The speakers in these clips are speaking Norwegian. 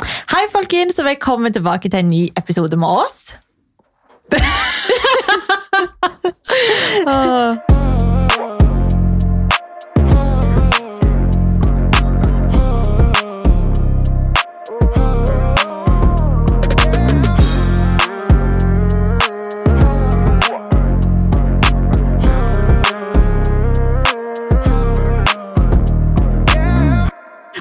Hei, folkens, og velkommen tilbake til en ny episode med oss.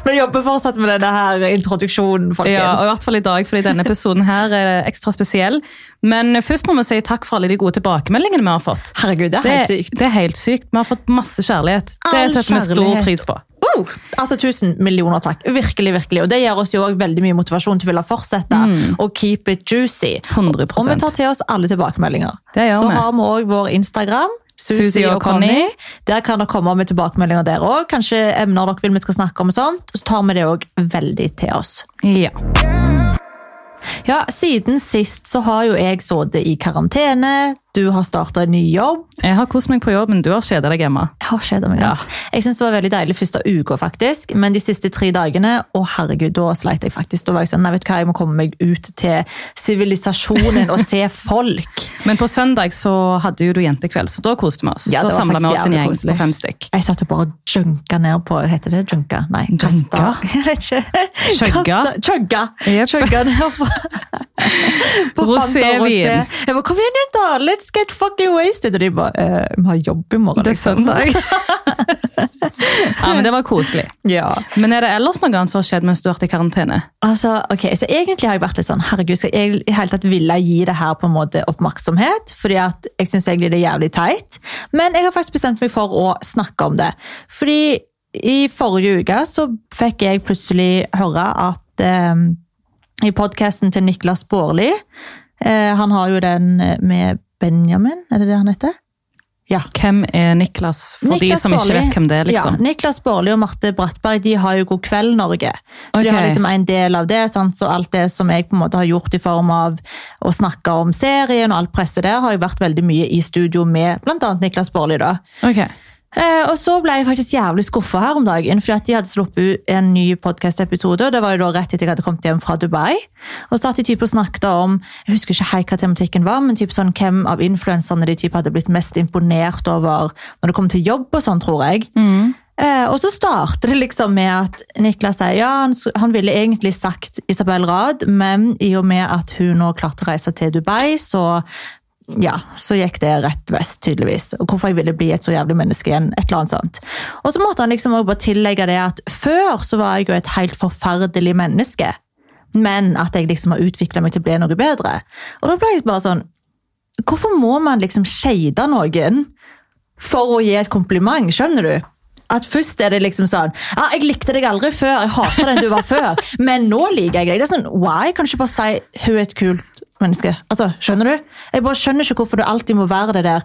Men jobber fortsatt med denne her introduksjonen, folkens. Ja, og i hvert fall i dag, fordi denne episoden her er ekstra spesiell. Men først må vi si takk for alle de gode tilbakemeldingene vi har fått. Herregud, det er Det, helt sykt. det er helt sykt. Vi har fått masse kjærlighet. All det setter vi kjærlighet. stor pris på. Oh, altså Tusen millioner takk. Virkelig, virkelig. Og det gir oss jo også veldig mye motivasjon til å ville fortsette og keep it juicy. 100 Og vi tar til oss alle tilbakemeldinger. Det gjør Så vi. har vi òg vår Instagram. Susi, Susi og og Conny. Conny. Der kan det komme med tilbakemeldinger der òg. Kanskje emner dere vil vi skal snakke om og sånt. Så tar vi det òg veldig til oss. Ja. Ja, Siden sist så har jo jeg sittet i karantene. Du har starta en ny jobb. Jeg har kost meg på jobb, men du har kjedet deg hjemme. Jeg har skjedd meg, ass. Jeg synes det var veldig deilig første uka, faktisk. Men de siste tre dagene, å herregud, da sleit jeg faktisk. Da var jeg sånn, nei, vet du hva, jeg må komme meg ut til sivilisasjonen og se folk. Men på søndag så hadde jo du jentekveld, så da koste vi oss. Ja, det da var samla vi faktisk oss en jævlig gjeng koselig. på fem stykk. Jeg satt og bare junka ned på Heter det junka? Nei. Junka? kasta. Jeg vet ikke. Chugga? Kasta- Chugga. Jep. Chugga ned på, på Rosévin. Fanta og Rosé. Jeg bare, kom igjen, jenter! Let's get fucking wasted! Og de bare eh, Vi har jobb i morgen. liksom." Det er søndag. Liksom. ja, men det var koselig. Ja. Men er det ellers noe annet som har skjedd mens du har vært i karantene? Altså, ok, så Egentlig har jeg vært litt sånn herregud, skal jeg i hele tatt ville gi det her på en måte oppmerksomhet? fordi at jeg syns egentlig det er jævlig teit. Men jeg har faktisk bestemt meg for å snakke om det. Fordi i forrige uke så fikk jeg plutselig høre at eh, i podkasten til Niklas Baarli eh, Han har jo den med Benjamin, er det det han heter? Ja. Hvem er Niklas, for de som ikke Baarli- vet hvem det er? liksom? Ja, Niklas Baarli og Marte Brattberg de har jo God kveld Norge. Så de Ok. har liksom en del av det. Sant? Så alt det som jeg på en måte har gjort i form av å snakke om serien og alt presset der, har jo vært veldig mye i studio med bl.a. Niklas Baarli. da. Ok. Eh, og så ble jeg faktisk jævlig skuffa her om dagen, fordi at de hadde sluppet ut en ny podkast-episode. og Det var jo da rett etter jeg hadde kommet hjem fra Dubai. Og så satt de typ og snakket om jeg husker ikke helt hva tematikken var, men typ sånn, hvem av influenserne de typ hadde blitt mest imponert over når det kom til jobb og sånn, tror jeg. Eh, og så starter det liksom med at Niklas sier ja, han, s- han ville egentlig sagt Isabel Rad, men i og med at hun nå klarte å reise til Dubai, så ja, så gikk det rett vest, tydeligvis. Og hvorfor jeg ville bli et så jævlig menneske igjen. et eller annet sånt. Og så måtte han liksom også bare tillegge det at før så var jeg jo et helt forferdelig menneske. Men at jeg liksom har utvikla meg til å bli noe bedre. Og da ble jeg bare sånn Hvorfor må man liksom shade noen for å gi et kompliment? Skjønner du? At først er det liksom sånn ja, 'Jeg likte deg aldri før. Jeg hater den du var før.' Men nå liker jeg deg. Det er sånn, Why? Kan du ikke bare si 'hun er et kult menneske'? Altså, Skjønner du? Jeg bare skjønner ikke hvorfor du alltid må være det der.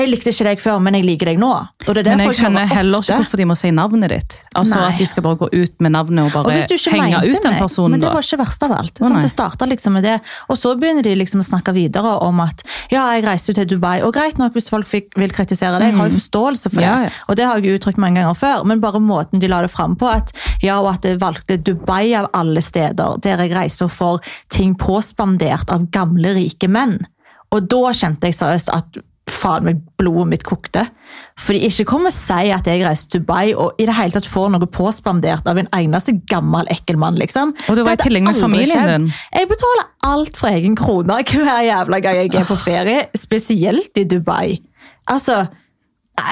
Jeg likte ikke deg før, men jeg liker deg nå. Og det er Men derfor jeg skjønner hører heller ikke ofte- hvorfor de må si navnet ditt. Altså Nei. At de skal bare gå ut med navnet og Og bare hvis du ikke henge mente ut den meg, personen. Men det da. var ikke verst av alt. Å, sant? nei. det startet liksom med det. Og så begynner de liksom å snakke videre om at ja, jeg reiste jo til Dubai. Og greit nok hvis folk fikk, vil kritisere det, jeg har jo Mm. forståelse for det. Ja, ja. Og det har jeg jo uttrykt mange ganger før, men bare måten de la det fram på, at ja, og at jeg valgte Dubai av alle steder, der jeg reiser og får ting påspandert av gamle, rike menn. Og da kjente jeg seriøst at faen meg blodet mitt kokte. For de ikke kommer og sier at jeg reiser til Dubai og i det hele tatt får noe påspandert av en eneste gammel ekkel mann, liksom. Og du var i Det hadde tillegg med aldri familien skjedd. din. Jeg betaler alt for egen krone hver jævla gang jeg er på ferie, spesielt i Dubai. Altså,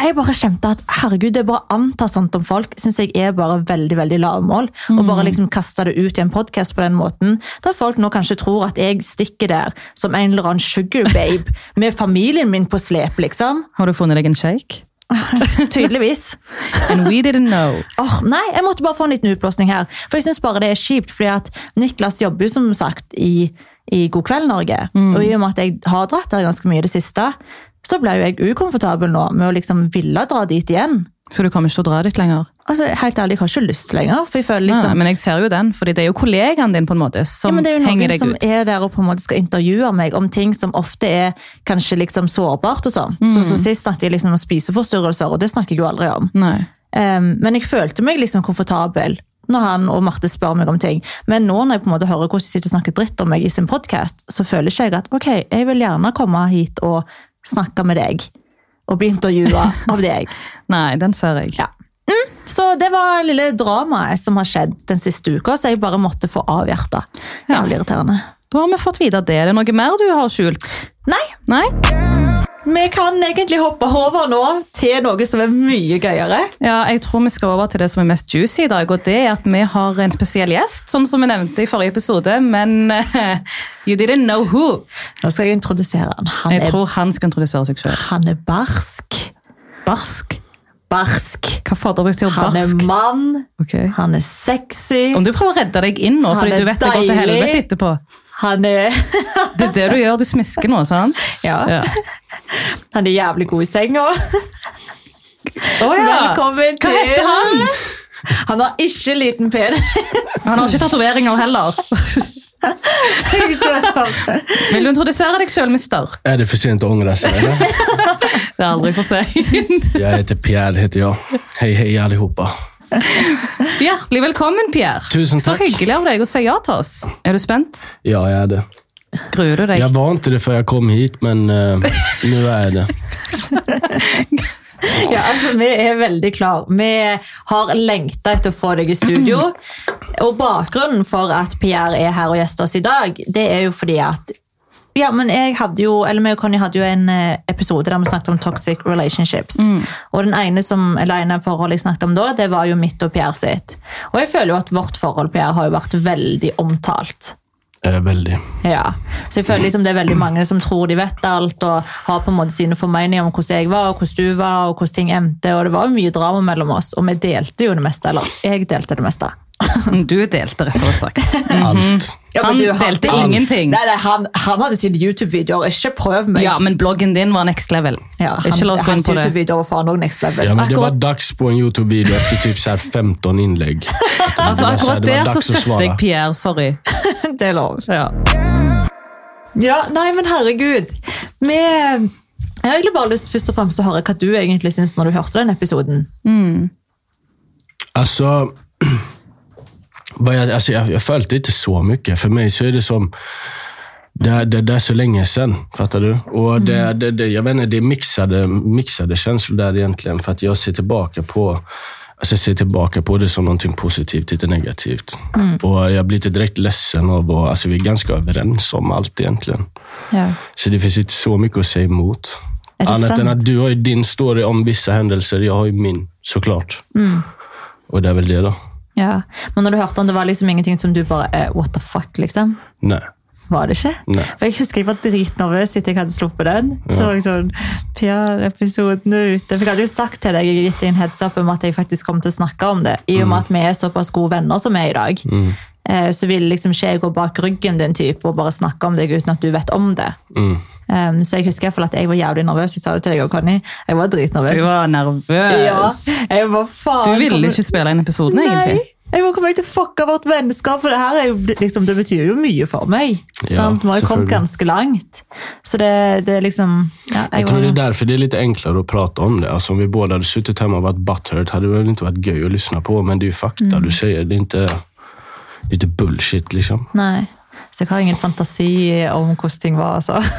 jeg bare kjente at herregud, det bare antar sånt om folk, synes jeg er bare veldig, veldig lavmål. Og Mm. bare liksom kaste det ut i en podcast på den måten, der folk nå kanskje tror at jeg stikker der som en eller annen sugar babe med familien min på slep, liksom. Har du funnet deg en shake? Tydeligvis. And we didn't know. Åh, nei, jeg måtte bare få en liten utblåsning her. For jeg synes bare det er kjipt, fordi at Niklas jobber jo som sagt i, i God kveld Norge. Og i og med at jeg har dratt der ganske mye i det siste, så ble jo jeg ukomfortabel nå med å liksom ville dra dit igjen. Så du kommer ikke til å dra dit lenger? Altså, helt ærlig, jeg har ikke lyst lenger, for jeg føler Nei, liksom... men jeg ser jo den, fordi det er jo kollegaen din på en måte som Ja, men det er jo henger noen deg som ut. er der og på en måte skal intervjue meg om ting som ofte er kanskje liksom sårbart og sånn. Så, Mm. så sist snakket jeg liksom om spiseforstyrrelser, og det snakker jeg jo aldri om. Nei. Ehm, men jeg følte meg liksom komfortabel. når han og Marte spør meg om ting. Men nå når jeg på en måte hører hvordan de sitter og snakker dritt om meg i sin podkast, så føler ikke jeg at ok, jeg vil gjerne komme hit og snakke med deg. Og bli intervjua av deg. Nei, den ser jeg. Ja. Så det var lille dramaet som har skjedd den siste uka, så jeg bare måtte få avhjerta. Jævlig irriterende. Da har vi fått vite det. Er det noe mer du har skjult? Nei, Nei? vi kan egentlig hoppe over nå til noe som er mye gøyere. Ja, jeg tror vi skal over til det som er mest juicy i dag, og det er at vi har en spesiell gjest, sånn som vi nevnte i forrige episode, men eh, you didn't know who. Nå skal jeg introdusere han. Han, Jeg er, tror han skal introdusere seg selv. han er barsk. Barsk? Barsk. Hva fader betyr Han barsk? er mann. Ok. Han er sexy. Om du prøver å redde deg inn nå, Han fordi er du vet det går til deilig. helvete etterpå. Han er, Det er det du gjør, du smisker nå, sant? ja, Ja. han er jævlig god i senga. Å ja! Velkommen Hva til heter han? Han har ikke liten penis. Han har ikke tatoveringer heller. Vil du introdusere deg selv, mister? Er det for sent å ångra sig? Eller? Det er aldri for sent. Jag heter Pierre, heter jag. Hej, hej allihopa. Hjertelig velkommen, Pierre. Tusen takk. Så hyggelig av deg å si ja til oss. Er du spent? Ja, jag är det. Gruer du deg? Jag var inte det för jag kom hit, men eh, nu är jag det. Ja, altså, vi er veldig klar. Vi har lengta etter å få deg i studio. Og bakgrunnen for at Pierre er her og gjester oss i dag, det er jo fordi at ja, men jeg hadde jo, eller meg og Conny hadde jo en eh, episode der vi snakket om toxic relationships. Og den ene som, eller ene forholdet jeg snakket om da, det var jo mitt og Pierre sitt. Og jeg føler jo at vårt forhold, Pierre, har jo vært veldig omtalt. Eh, väldigt. Ja, så jeg føler liksom det er veldig mange som tror de vet alt, og har på en måte sine formeninger om hvordan jeg var, og hvordan du var, og hvordan ting endte. Og det var jo mye drama mellom oss, og vi delte jo det meste. Eller jeg delte det meste. Du delte, rett og slett. Mm-hmm. Allt. Han delte ingenting. Nei, nei, han, han hadde sine YouTube-videoer. Ikke prøv meg. Ja, men bloggen din var next level. Ja, hans Ikke la oss gå inn hans på det. YouTube-videoer var faen òg next level. Ja, men det var Akkurat- dags på en Youtube-video efter typ så här 15 inlägg. Altså, Det var så här, akkurat det var der dags så att støtter svara. jeg Pierre. Sorry. Det er lov. Ja. Ja, nei, men herregud. Vi, jeg har egentlig bare lyst først og fremst til å høre hva du egentlig syns når du hørte den episoden. Alltså, vad jag, alltså jag, jag följde inte så mycket. För mig så är det som, det, är- det, det är så länge sedan, fattar du? Och det, det, det, jag vet inte, det är mixade, mixade känslor där egentligen. För att jag ser tillbaka på Alltså jag ser tillbaka på det som någonting positivt, inte negativt. Och Jag blir inte direkt ledsen av att... Alltså vi är ganska överens om allt egentligen. Ja. Så det finns inte så mycket att säga emot. Är det Annat sant? än att du har ju din story om vissa händelser, jag har ju min såklart. Mm. Och det är väl det då. Ja. Men når du hørte den, det var liksom ingenting som du bare eh, What the fuck, liksom? Nej. Var det ikke? Nei. For Jeg husker jeg var dritnervøs etter jeg hadde sluppet den. Så var jeg sånn, Pierre-episoden er ute. For jeg hadde jo sagt til deg jeg hadde gitt deg en heads up om at jeg faktisk kom til å snakke om det. I og med at vi er såpass gode venner som vi er i dag, eh, så vil liksom ikke jeg gå bak ryggen din typ, og bare snakke om deg uten at du vet om det. Um, så jeg husker i hvert fall at jeg var jævlig nervøs. Jeg sa det til deg og Conny. Jeg var Du dritnervøs. var Ja, nervøs. jeg var faen. Du ville kommer- ikke spille inn episoden, Nei, egentlig. jeg må komme til å fucke vårt vennskap, for det her er jo, liksom, det betyr jo mye for meg. Ja, sant? Vi har jo kommet selvfølgelig. ganske langt. Så det, det er liksom ja, jeg Jag tror var- det är därför det är lite enklare att prata om det. Alltså om vi båda hade suttit hemma och varit butthurt hade det väl inte varit göj att lyssna på. Men det är ju fakta Mm. du säger. Det är inte, det är inte bullshit liksom. Nei. Så jeg har ingen fantasi om hvordan ting var, altså.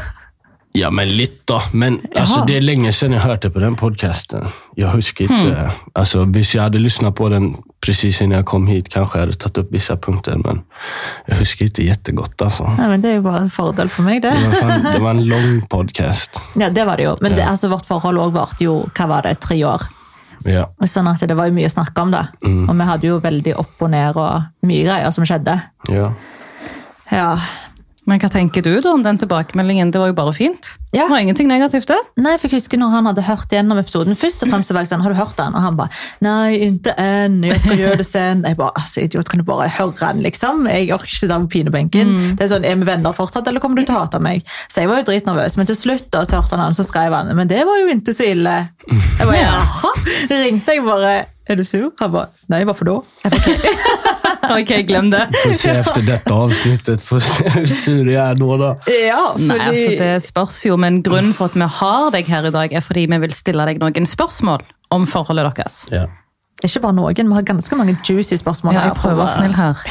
Ja, men litt da. Men altså, det er lenge siden jeg hørte på den podcasten. Jeg husker ikke. Altså, hvis jeg hadde lyttet på den precis innan jeg kom hit, kanskje jeg hadde tatt opp visse punkter, men jeg husker ikke jättegodt, altså. Nei, men Det er jo bare en fordel for meg, det. Det var, fan, det var en lang podcast. Ja, Det var det jo. Men det, altså, vårt forhold òg varte jo hva var det, tre år. Ja. Sånn at det var jo mye å snakke om, da. Mm. Og vi hadde jo veldig opp og ned og mye greier som skjedde. ja. Ja, Men hva tenker du da om den tilbakemeldingen? Det var jo bare fint. Ja. Det var ingenting negativt, det. Nei, for jeg husker når han hadde hørt gjennom episoden. Først og fremst så var jeg sånn, har du hørt den? Og han bare, nei, ikke enn, jeg skal gjøre det sen. Jeg bare, altså idiot, kan du bare høre den liksom? Jeg orker ikke den på pinebenken. Mm. Det er sånn, er vi venner fortsatt, eller kommer du til å hate meg? Så jeg var jo dritnervøs, men til slutt da, så hørte han han, så skrev han, men det var jo ikke så ille. Jeg bare, jaha, ringte jeg bare, er du sur? Han bare, nei, hvorfor da? Ok, glem det. Får se efter detta avsnittet, får se hur sur jag är då. då. Ja, fordi... Nei, altså Det spørs jo, men grunnen for at vi har deg her i dag, er fordi vi vil stille deg noen spørsmål om forholdet deres. Ja. Det er ikke bare noen, vi har ganske mange juicy spørsmål. Ja, her jeg prøver å være for- snill her.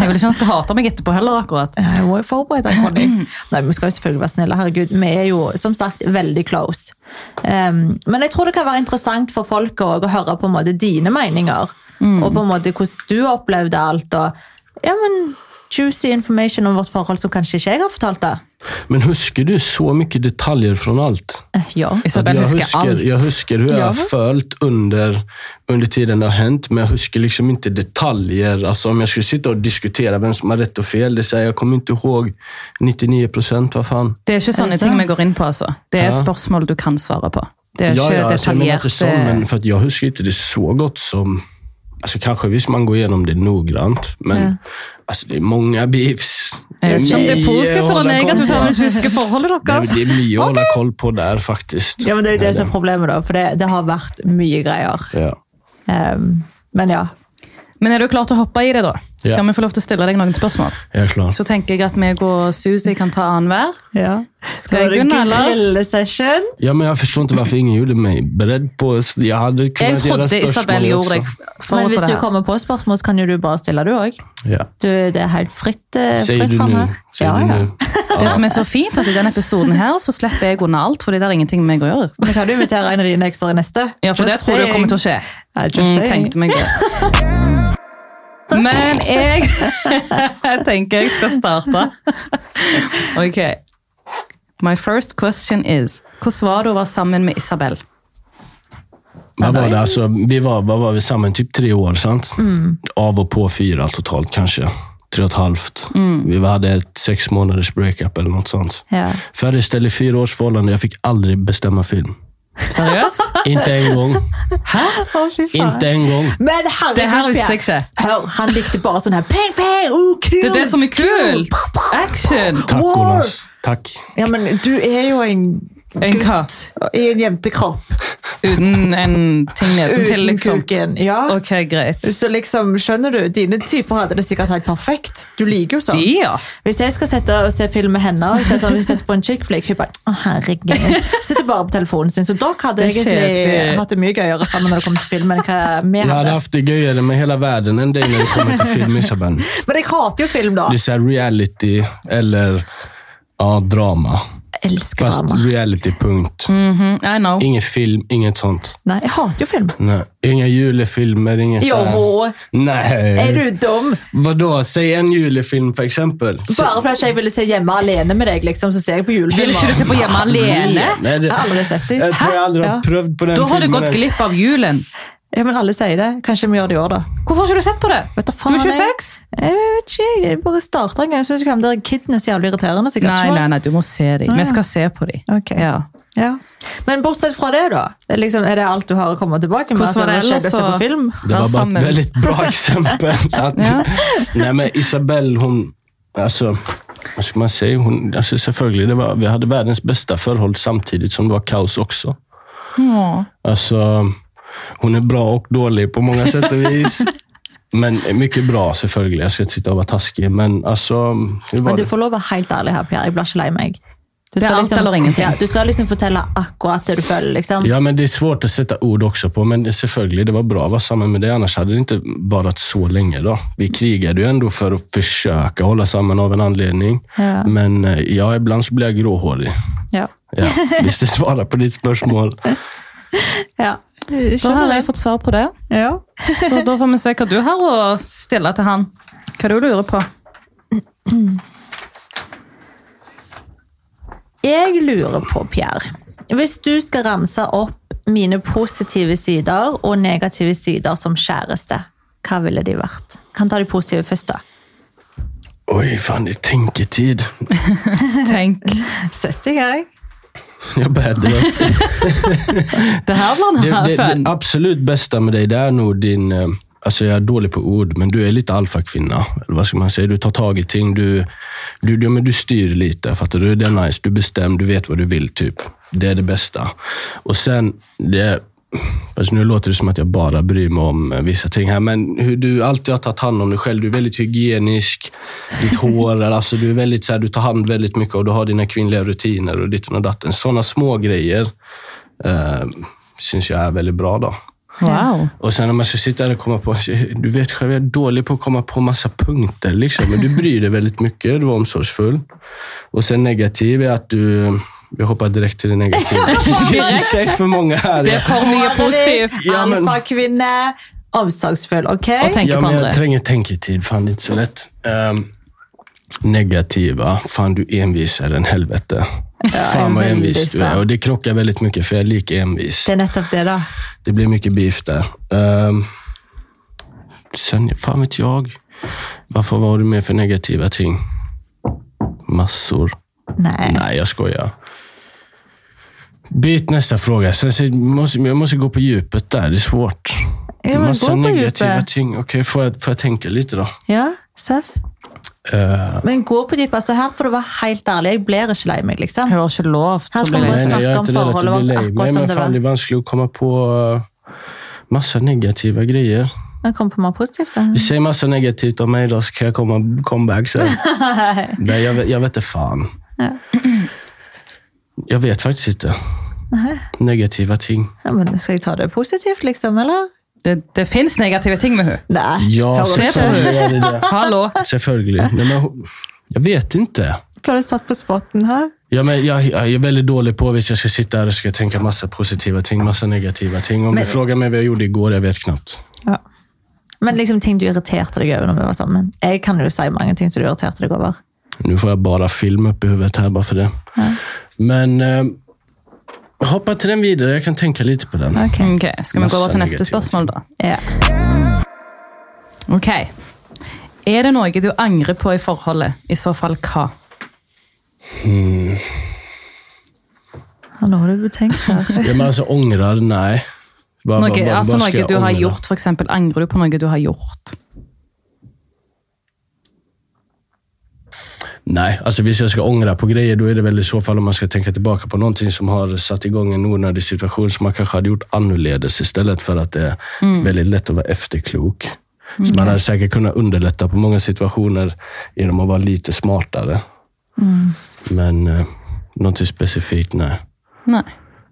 Jeg vil ikke han skal hate meg etterpå heller, akkurat. Ja, Jeg Eh, må jo forberede deg, Conny. Nei, vi skal jo selvfølgelig være snille. Herregud, vi er jo som sagt veldig close. Ehm, men jeg tror det kan være interessant for folk også, å høre på en måte dine meninger. Og på en måte hvordan du har opplevd alt. Og ja, men juicy information om vårt forhold som kanskje ikke jeg har fortalt det. Men husker du så mye detaljer fra alt? Eh, Ja. Isabel jag husker alt. Jag husker hur jag Ja. har följt under, under tiden det har hänt, men jag huskar liksom inte detaljer. Alltså, om jag skulle sitta och diskutera vem som har rätt och fel, det säger jag kommer inte ihåg 99 procent. Vad fan? Det er ikke Er sånne det ting sant? vi går inn på, altså. Det er Ja. spørsmål du kan svare på. Det er ja, ikke ja, altså, alltså, jag menar inte så, sånn, men detaljerte för att jag huskar inte det så gott som... Alltså, kanske visst man går igenom det noggrant, men Ja. alltså, det är många beefs. Jeg vet ikke om det er mye positivt å eller holde koll negativt på. av det tyske forholdet Det deres. är, det är mye att hålla koll på där faktiskt. ja, men Det er jo det som er problemet, da. For det, det har vært mye greier. Ja. Ehm, men ja. Men er du klar til å hoppe i det, da? Ja. Skal vi få lov til å stille deg noen spørsmål? Jag är klar. Så tenker jeg at meg og Susi kan ta annenhver. ja. Skal jeg begynne, eller? Grillesession. Ja, men jag förstår inte varför ingen gjorde mig beredd på... Jag hade Jeg kunnat göra trodde Isabel spörsmål gjorde också. deg Men forut hvis på det du her. kommer på spørsmål, så kan jo du bare stille, du òg. Ja. Du, det er helt fritt, eh, Säger fritt du fram nu? her. Säger du nu? Det som er så fint, at i denne episoden her så slipper jeg unna alt, fordi det er ingenting med meg å gjøre. Men kan du invitere en av dine ekstra i neste? Ja, for det tror jeg kommer til å skje. Ja, just Mm, saying. tenkte meg det. Men jeg tenker jeg skal starte. Ok. My first question is, hvordan var det å være sammen med Isabel? Vad var det? Alltså, vi var, vad var vi samman? Typ tre år, sant? Mm. Av och på fyra totalt kanske. Tre och ett halvt. Mm. Vi hade ett sex månaders breakup eller något sånt. Ja. Föreställ dig fyra års förhållande. Jag fick aldrig bestämma film. Seriøst? inte en gång. Inte en gång. Men herregud, Det her visste jeg Pierre. ikke. Hør, han likte bare sånn her peng, peng, oh, kul, Det er det som er kul. kult! Action! Tack, Wow. Jonas. Tack. Ja, men du er jo en En gutt katt i en jentekropp uten en ting nedentil, uten liksom. kuken. Ja. Ok, greit. Så liksom, skjønner du, dine typer hadde det sikkert helt perfekt. Du liker jo sånn. De, ja. Hvis jeg skal sette og se film med henne, og så er det sånn, hvis jeg setter på en chick flick, hun bare å herregud, sitter bare på telefonen sin. Så dere hadde Det er egentlig kjedelig. hatt det mye gøyere sammen når det kom til film enn hva vi Jag hade hadde. haft det göjare med hela världen än dig när det kommer till film, Isabel. Men jeg hater jo film, da. Det är så här reality eller ja, drama. Jeg elsker Fast drama. reality, punkt. Mm, I know. Ingen film, inget sånt. Nei, jeg hater jo film. Nej. Inga julefilmer, inget så här- Jo, Nej. er du dum? Vadå? Säg en julefilm för exempel. Så- Bare fordi jeg ville se Hjemme alene med deg, liksom, så ser jeg på Vil ikke du julefilmer. se på Hjemme alene? Nej, det, Jeg har aldri sett dem. jag tror jag aldrig Ja. har prövd på den Da har du filmen gått än. glipp av julen. Ja, men alle sier det. Kanskje vi gjør det i år, da. Hvorfor har ikke du sett på det? Vet da Du faen, er jeg- 26? Jeg vet ikke, jeg bare starter en gang, så kommer dere kidene så jævlig irriterende. sikkert. Nei, nei, nei, du Ah. må se dem. Vi skal se på dem. Ok. Ja. Ja. Men bortsett fra det, da? Er, liksom, er det alt du har å komme tilbake med? Hvordan var det At ellers, skjedde seg så- på film? Det var bara Sammen. ett väldigt bra exempel. Att, Nej, men Isabelle, hon... Alltså, vad ska man säga? Hon, alltså, selvfølgelig, det var, vi hade världens bästa förhåll samtidigt som det var kaos också. Åh. Alltså, hon är bra och dålig på många sätt och vis. Men mycket bra, självklart. Jag ska inte sitta och vara taskig, men alltså... Hur var Men du det? får lov å være helt ærlig her, Pierre. Jeg blir ikke lei meg. Du Det er alt eller ingenting. Ja, du skal liksom fortelle akkurat det du føler. liksom. Ja, men det är svårt att sätta ord också på, men självklart, det var bra att vara samman med dig. Annars hade det inte varit så länge. Då. Vi krigade ju ändå för att försöka hålla samman av en anledning. Ja. Men eh, ja, ibland så blir jag gråhårig. Ja. Ja, visst det svarar på ditt spörsmål. ja. Da har Skjønner jeg jeg. fått svar på det. Ja. Så da får vi se hva du har å stille til han. Hva du lurer på. Jeg lurer på, Pierre Hvis du skal ramse opp mine positive sider og negative sider som kjæreste, hva ville de vært? Kan ta de positive først, da. Oj, fan det är tänketid. Tenk. Søtt i gang. Jag börjar dra Det her blir det, en det, det fun. absolut bästa med dig, det är nog din... eh, Alltså jag är dålig på ord, men du är lite alfakvinna. Eller vad ska man säga? Du tar tag i ting, du, du, du, men du styr lite. Fattar du? Det är nice. Du är bestämd, du vet vad du vill. typ. Det är det bästa. Och sen, det, fast nu låter det som att jag bara bryr mig om eh, vissa ting här, men hur du alltid har tagit hand om dig själv. Du är väldigt hygienisk. Ditt hår, alltså du, är väldigt, så här, du tar hand väldigt mycket och du har dina kvinnliga rutiner Ehm, och ditten och datten. Sådana små grejer eh, syns jag är väldigt bra. Då. Wow. Och sen om man ska sitta där och komma på... Du vet själv, jag är dålig på att komma på massa punkter. Liksom. Men du bryr dig väldigt mycket. Du var omsorgsfull. Och sen negativ är att du... Jag hoppar direkt till det negativa. Du ska inte säga för många här. Det er for mye positivt. Ja, men- Alfakvinne, omsorgsfull, ok? Og tenke ja, på men jag andre. tränger tänketid. Fan, det är inte så lätt. Ehm, negativa. Fan, du envisar en helvete. fan vad jag är envis väldigt du är. där. Och det krockar väldigt mycket, för jag är lik envis. Det er nettopp det, da. Det blir mycket beef där. Ehm, sen, fan vet jag. Varför var du med för negativa ting? Massor. Nei. Nej, jag skojar. Byt nästa fråga. Sen, så måste, jag måste gå på djupet där. Det är svårt. Ja, men Massa gå på negativa djupet. ting. Okej, får, jag, får jag tänka lite då? Ja, Seff? Men gå på dypet. Altså, her får du være helt ærlig. Jeg blir ikke lei meg, liksom. Jeg har ikke Han lov til å skal bli bare lei Nej, seg. nej, jag är snacka om inte rädd att du förhåll och blir lei akkurat mig, som men det fan, var. det är vanskligt att komma på eh, massa negativa grejer. Men kom på mer positivt, da. Säg massa negativt om mig då, så kan jag komma comeback sen. nej, jag, vet- jag vet inte fan. jag vet faktiskt inte. Negativa ting. Ja, men skal jeg ta det positivt, liksom, eller? Det, det fins negative ting med henne. Nei. Ja, Hører du se ikke? på selvfølgelig gör det det. Hallo. Selvfølgelig. Nej, men, hon- jag vet inte. Ble du satt på spotten her? Ja, men jag, jag är väldigt dålig på hvis jag ska sitta här och ska tänka massa positiva ting, massa negativa ting. Om Men- du frågar mig vad jag gjorde igår, jag vet knappt. Ja. Men liksom ting du irriterte deg over når vi var sammen. Jeg kan jo si mange ting som du irriterte deg over. Nu får jag bara film upp i huvudet här bara för det. Men eh, hoppa till den vidare, jag kan tänka lite på den. Ok. Ok, Skal vi gå over Masse til negative neste spørsmål, da? Ja. Ok. Er det noe du angrer på i forholdet? I så fall hva? Ja, Nå har du tenkt her. Ja, men alltså ångrar, nej. Vad- Noe, vad- vad- altså vad ska noe jag du har ångra? gjort, for eksempel. Angrer du på noe du har gjort? Nej, alltså visst jag ska ångra på grejer, då är det väl i så fall om man ska tänka tillbaka på någonting som har satt igång en onödig situation som man kanske hade gjort annorledes istället för att det är Mm. väldigt lätt att vara efterklok. Så man hade säkert kunnat underlätta på många situationer genom att vara lite smartare. Mm. Men eh, någonting specifikt, nej. Nei.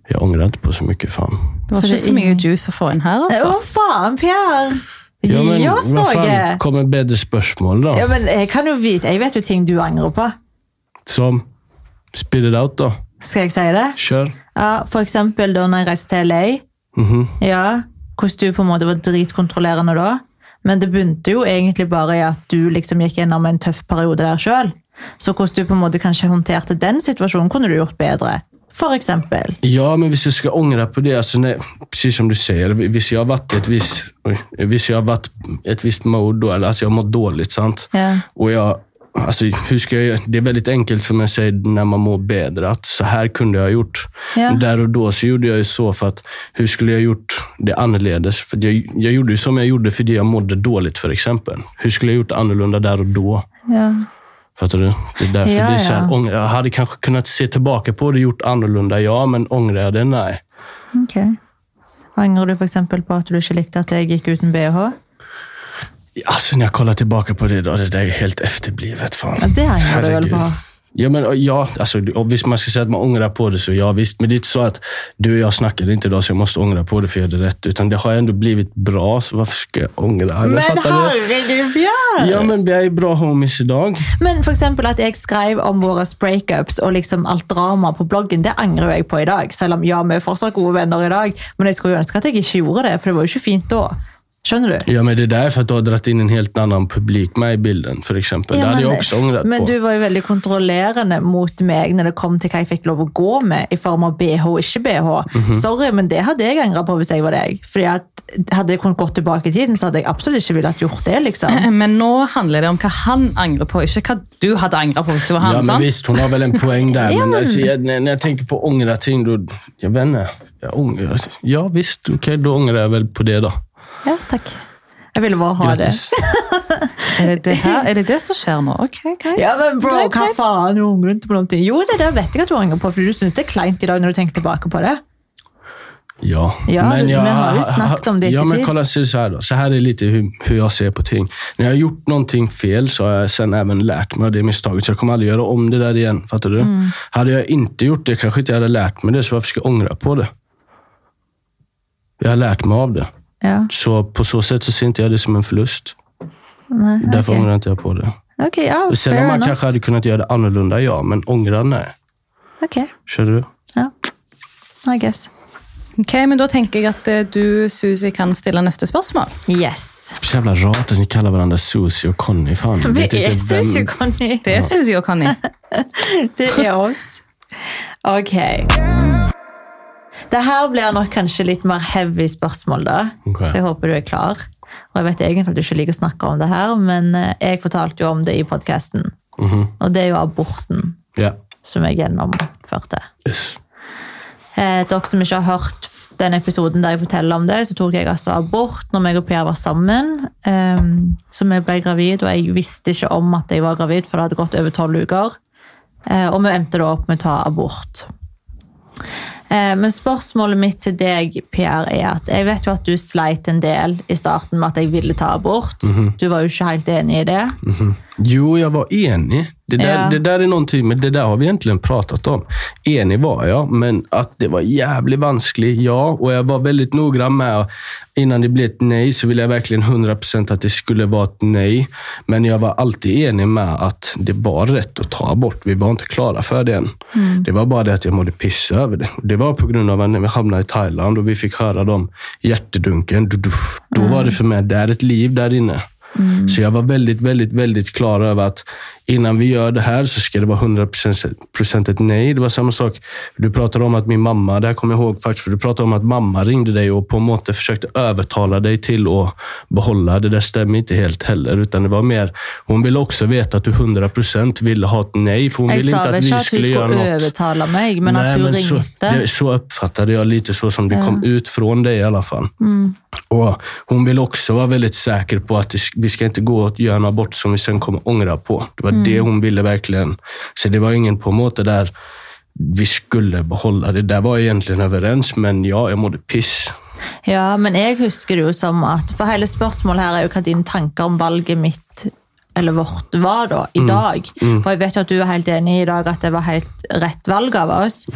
Jag ångrar inte på så mycket fan. Det var Så ikke det er så mye ingen- juice å få inn her, Å, altså. faen, Pierre! Gi oss vad noe! fan, kommer bättre spörsmål då? Ja, men jeg kan jo vite, jeg vet jo ting du angrer på. Som, spit it out då. Skal jeg si det? Kör. Ja, for eksempel da når jeg reiste til LA. Mhm. Ja, hvordan du på en måte var dritkontrollerende da. Men det begynte jo egentlig bare i at du liksom gikk gjennom en tøff periode der sjøl. Så hvordan du på en måte kanskje håndterte den situasjonen, kunne du gjort bedre. For eksempel. Ja, men hvis jag ska ångra på det, alltså nej, precis som du säger, hvis jag har varit i ett visst, oj, hvis jag har varit i ett visst mode då, eller att jag har mått dåligt, sant? altså, Ja. Och jag, alltså, hur ska jag, det är väldigt enkelt för mig att säga när man mår bättre, att så här kunde jag ha gjort. Ja. Där och då så gjorde jag ju så för att, hur skulle jag gjort det annorledes? För jag, jag gjorde ju som jag gjorde för det jeg mådde dåligt, för exempel. Hur skulle jag gjort annorlunda där och då? Ja. Fattar du? Det är därför Ja, det är så ja. här, ångra- jag hade kanske kunnat se tillbaka på det och gjort annorlunda, ja, men ångrar jeg det? Nej. Ok. Angrer du for eksempel på at du ikke likte at jeg gikk uten BH? Alltså när jag kollar tillbaka på det då, det där är helt efterblivet. Fan. Ja, det angrar du väl Herregud. på? Ja, men ja, alltså, om visst man ska säga att man ångrar på det så ja visst. Men det är inte så att du och jag snackade inte idag så jag måste ångra på det för jag gjorde rätt. Utan det har ändå blivit bra, så varför ska jag ångra? Men du? herregud, Bjørn! Ja, men vi är bra homies idag. Men for eksempel at jeg skrev om våre breakups og liksom alt drama på bloggen, det angrer jeg på i dag. Selv om ja, vi er fortsatt gode venner i dag, men jeg skulle jo ønske at jeg ikke gjorde det, for det var jo ikke fint da. Skjønner du? Ja, men det är därför att du har dragit in en helt annan publik med i bilden, för exempel. det hade jag också ångrat men på. du var jo veldig kontrollerende mot meg når det kom til hva jeg fikk lov å gå med i form av BH og ikke BH. Mhm. Sorry, men det hadde jeg angret på hvis jeg var deg. Fordi at Hadde jeg kunnet gått tilbake i tiden, så hadde jeg absolutt ikke villet gjort det. liksom. Men nå handler det om hva han angrer på, ikke hva du hadde angret på hvis du var han. Ja, men sant? visst, hon har väl en poäng där. Ja, men men- alltså, jag, när, när jag tänker på ångra ting, då... Jag vet inte. Jag ångrar, alltså, ja, visst. Okej, då ångrar jag väl på det då. Ja, takk. Jeg ville bare ha det. Grattis. Er det det, her? Er det det som skjer nå? Ok, greit. Ja, men bro, Greit, hva greit. faen? Du angrer ikke på noen ting. Jo, det der vet jeg at du angrer på, for du syns det er kleint i dag når du tenker tilbake på det. Ja, Ja, vi- vi har ju snackat om det Ja, lite men tid. kolla så, är det så här då. Så här är lite hur, hur jag ser på ting. När jag har gjort någonting fel så har jag sen även lärt mig av det misstaget. Så jag kommer aldrig göra om det där igen. Fattar du? Mm. Hade jag inte gjort det kanske inte jag hade lärt mig det. Så varför ska jag ångra på det? Jag har lärt mig av det. Ja. Så på så sätt så ser inte jag det som en förlust. Nej, Därför okej. ångrar inte jag på det. Okej, ja, Sen fair om man enough. kanske hade kunnat göra det annorlunda, ja. Men ångra, nej. Okej, Körde du? ja. I guess. Ok, men Da tenker jeg at eh, du, Susi, kan stille neste spørsmål. Yes. Så jävla rart att ni kallar varandra Susie och Conny. Fan, jag Vi vet er inte Susie vem... og Conny. Det syns jeg kan. jeg. Det er oss. Ok. Det her blir nok kanskje litt mer heavy spørsmål, da. Ok. Så jeg håper du er klar. Og jeg vet egentlig at du ikke liker å snakke om det her, men eh, jeg fortalte jo om det i podkasten. Mhm. Og det er jo aborten Ja. som jeg gjennomførte. Yes. Eh, dere som ikke har hørt f- den episoden der jeg forteller om det, så tok jeg altså abort når meg og Per var sammen. Um, så vi ble gravid, og jeg visste ikke om at jeg var gravid, for det hadde gått over tolv uker. Eh, og vi endte da opp med å ta abort. Eh, men spørsmålet mitt til deg, Per, er at jeg vet jo at du sleit en del i starten med at jeg ville ta abort. Mhm. Du var jo ikke helt enig i det. Jo, jag var enig. Det där, Ja. det där är någonting, men det där har vi egentligen pratat om. Enig var jag, men att det var jävligt vanskligt, ja. Och jag var väldigt noggrann med, innan det blev ett nej så ville jag verkligen 100% att det skulle vara ett nej. Men jag var alltid enig med att det var rätt att ta abort. Vi var inte klara för det än. Det var bara det att jag mådde piss över det. Och Det var på grund av att när vi hamnade i Thailand och vi fick höra de hjärtedunken. du- du- Då var det för mig, det är ett liv där inne. Så jag var väldigt, väldigt, väldigt klar över att innan vi gör det här så ska det vara 100% ett nej. Det var samma sak, du pratade om att min mamma, det här kommer jag ihåg faktiskt, för du pratade om att mamma ringde dig och på en måte försökte övertala dig till att behålla. Det där stämmer inte helt heller, utan det var mer, hon ville också veta att du 100% ville ha ett nej, för hon Jeg ville sa inte vel att ikke ni at hun skulle göra skulle något. overtale meg, men at Nej, hun men så, ringte. det, så uppfattade jag lite så som det kom ut från dig i alla fall. Mm. Och hon vill också vara väldigt säker på att det, vi ska inte gå och göra en abort som vi sen kommer ångra på. Det Mm. var det hon ville verkligen. Så det var ingen på måte där vi skulle behålla det. Där var jag egentligen överens, men ja, jag mådde piss. Ja, men jeg husker det jo som at For hele spørsmålet her er jo hva dine tanker om valget mitt eller vårt var da, i dag. Og jeg vet jo at du er helt enig i dag at det var helt rett valg av oss.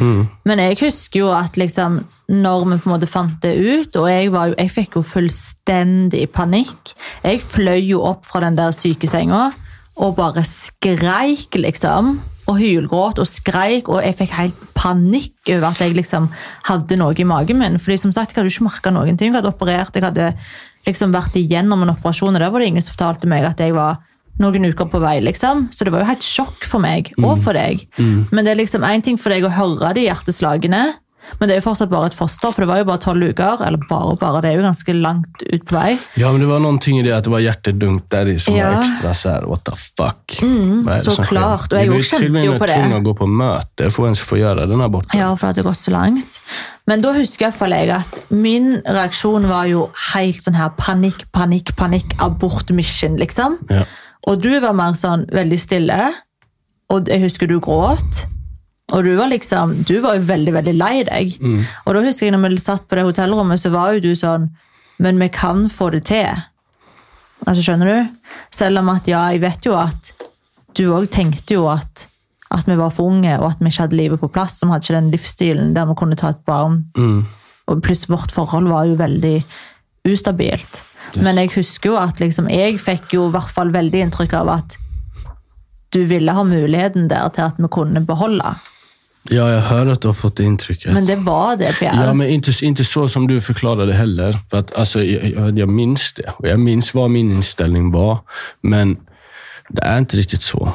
Men jeg husker jo at liksom når vi på en måte fant det ut, og jeg, var jo, jeg fikk jo fullstendig panikk. Jeg fløy jo opp fra den der sykesenga og bare skreik, liksom. Og hylgråt og skreik, og jeg fikk helt panikk over at jeg liksom hadde noe i magen min. Fordi som sagt, jeg hadde jo ikke merka noen ting. Jeg hadde operert, jeg hadde liksom vært igjennom en operasjon, og der var det ingen som fortalte meg at jeg var noen uker på vei, liksom. Så det var jo helt sjokk for meg, og for deg. Men det er liksom én ting for deg å høre de hjerteslagene, men det er jo fortsatt bare et foster, for det var jo bare tolv uker. Eller bare, bare, det er jo ganske langt ut på vei. Ja, men det var någonting i det att det var hjärtedunk där i som var Ja. extra så här, what the fuck. Mm, såklart. Och jag Vi var ju kände till och ju med på det. tvungna att gå på möte för att ens få göra den här aborten. Ja, for det hadde gått så langt. Men da husker jeg, for jeg at min reaksjon var jo helt sånn her panikk, panikk, panikk, abort mission, liksom. Ja. Og du var mer sånn veldig stille, og jeg husker du gråt. Og du var liksom, du var jo veldig, veldig lei deg. Og da husker jeg når vi satt på det hotellrommet, så var jo du sånn, men vi kan få det til. Altså, skjønner du? Selv om at, ja, jeg vet jo at du òg tenkte jo at, at vi var for unge, og at vi ikke hadde livet på plass, som hadde ikke den livsstilen der vi kunne ta et barn. Og pluss vårt forhold var jo veldig ustabilt. Men jeg husker jo at liksom, jeg fikk jo i hvert fall veldig inntrykk av at du ville ha muligheten der til at vi kunne beholde. ja, jag hör att du har fått det intrycket. Men det var det, Pierre. Ja, men inte, inte så som du förklarade heller. För att, alltså, jag, jag, jag minns det och jag minns vad min inställning var. Men det är inte riktigt så.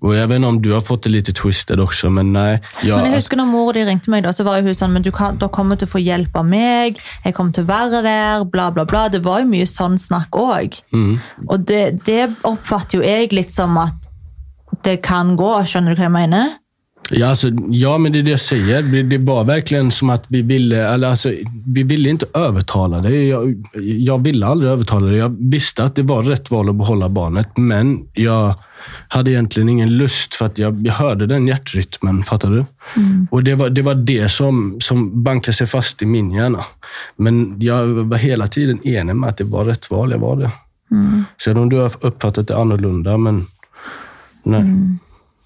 Och jag vet inte om du har fått det lite twisted också, men nej. Jag, Men jeg husker når mor di ringte meg, da, så var jo hun sånn Men du kan, da kommer du til å få hjelp av meg. Jeg kommer til å være der. Bla, bla, bla. Det var jo mye sånn snakk òg. Mhm. Og det, det oppfatter jo jeg litt som at det kan gå. Skjønner du hva jeg mener? Ja, alltså, ja, men det är det jag säger. Det, det var verkligen som att vi ville, eller alltså, vi ville inte övertala dig. Jag, jag ville aldrig övertala dig. Jag visste att det var rätt val att behålla barnet, men jag hade egentligen ingen lust för att jag, jag hörde den hjärtrytmen, fattar du? Och det var, det var det som, som bankade sig fast i min hjärna. Men jag var hela tiden enig med att det var rätt val, jag var det. Sen om du har uppfattat det annorlunda, men nej.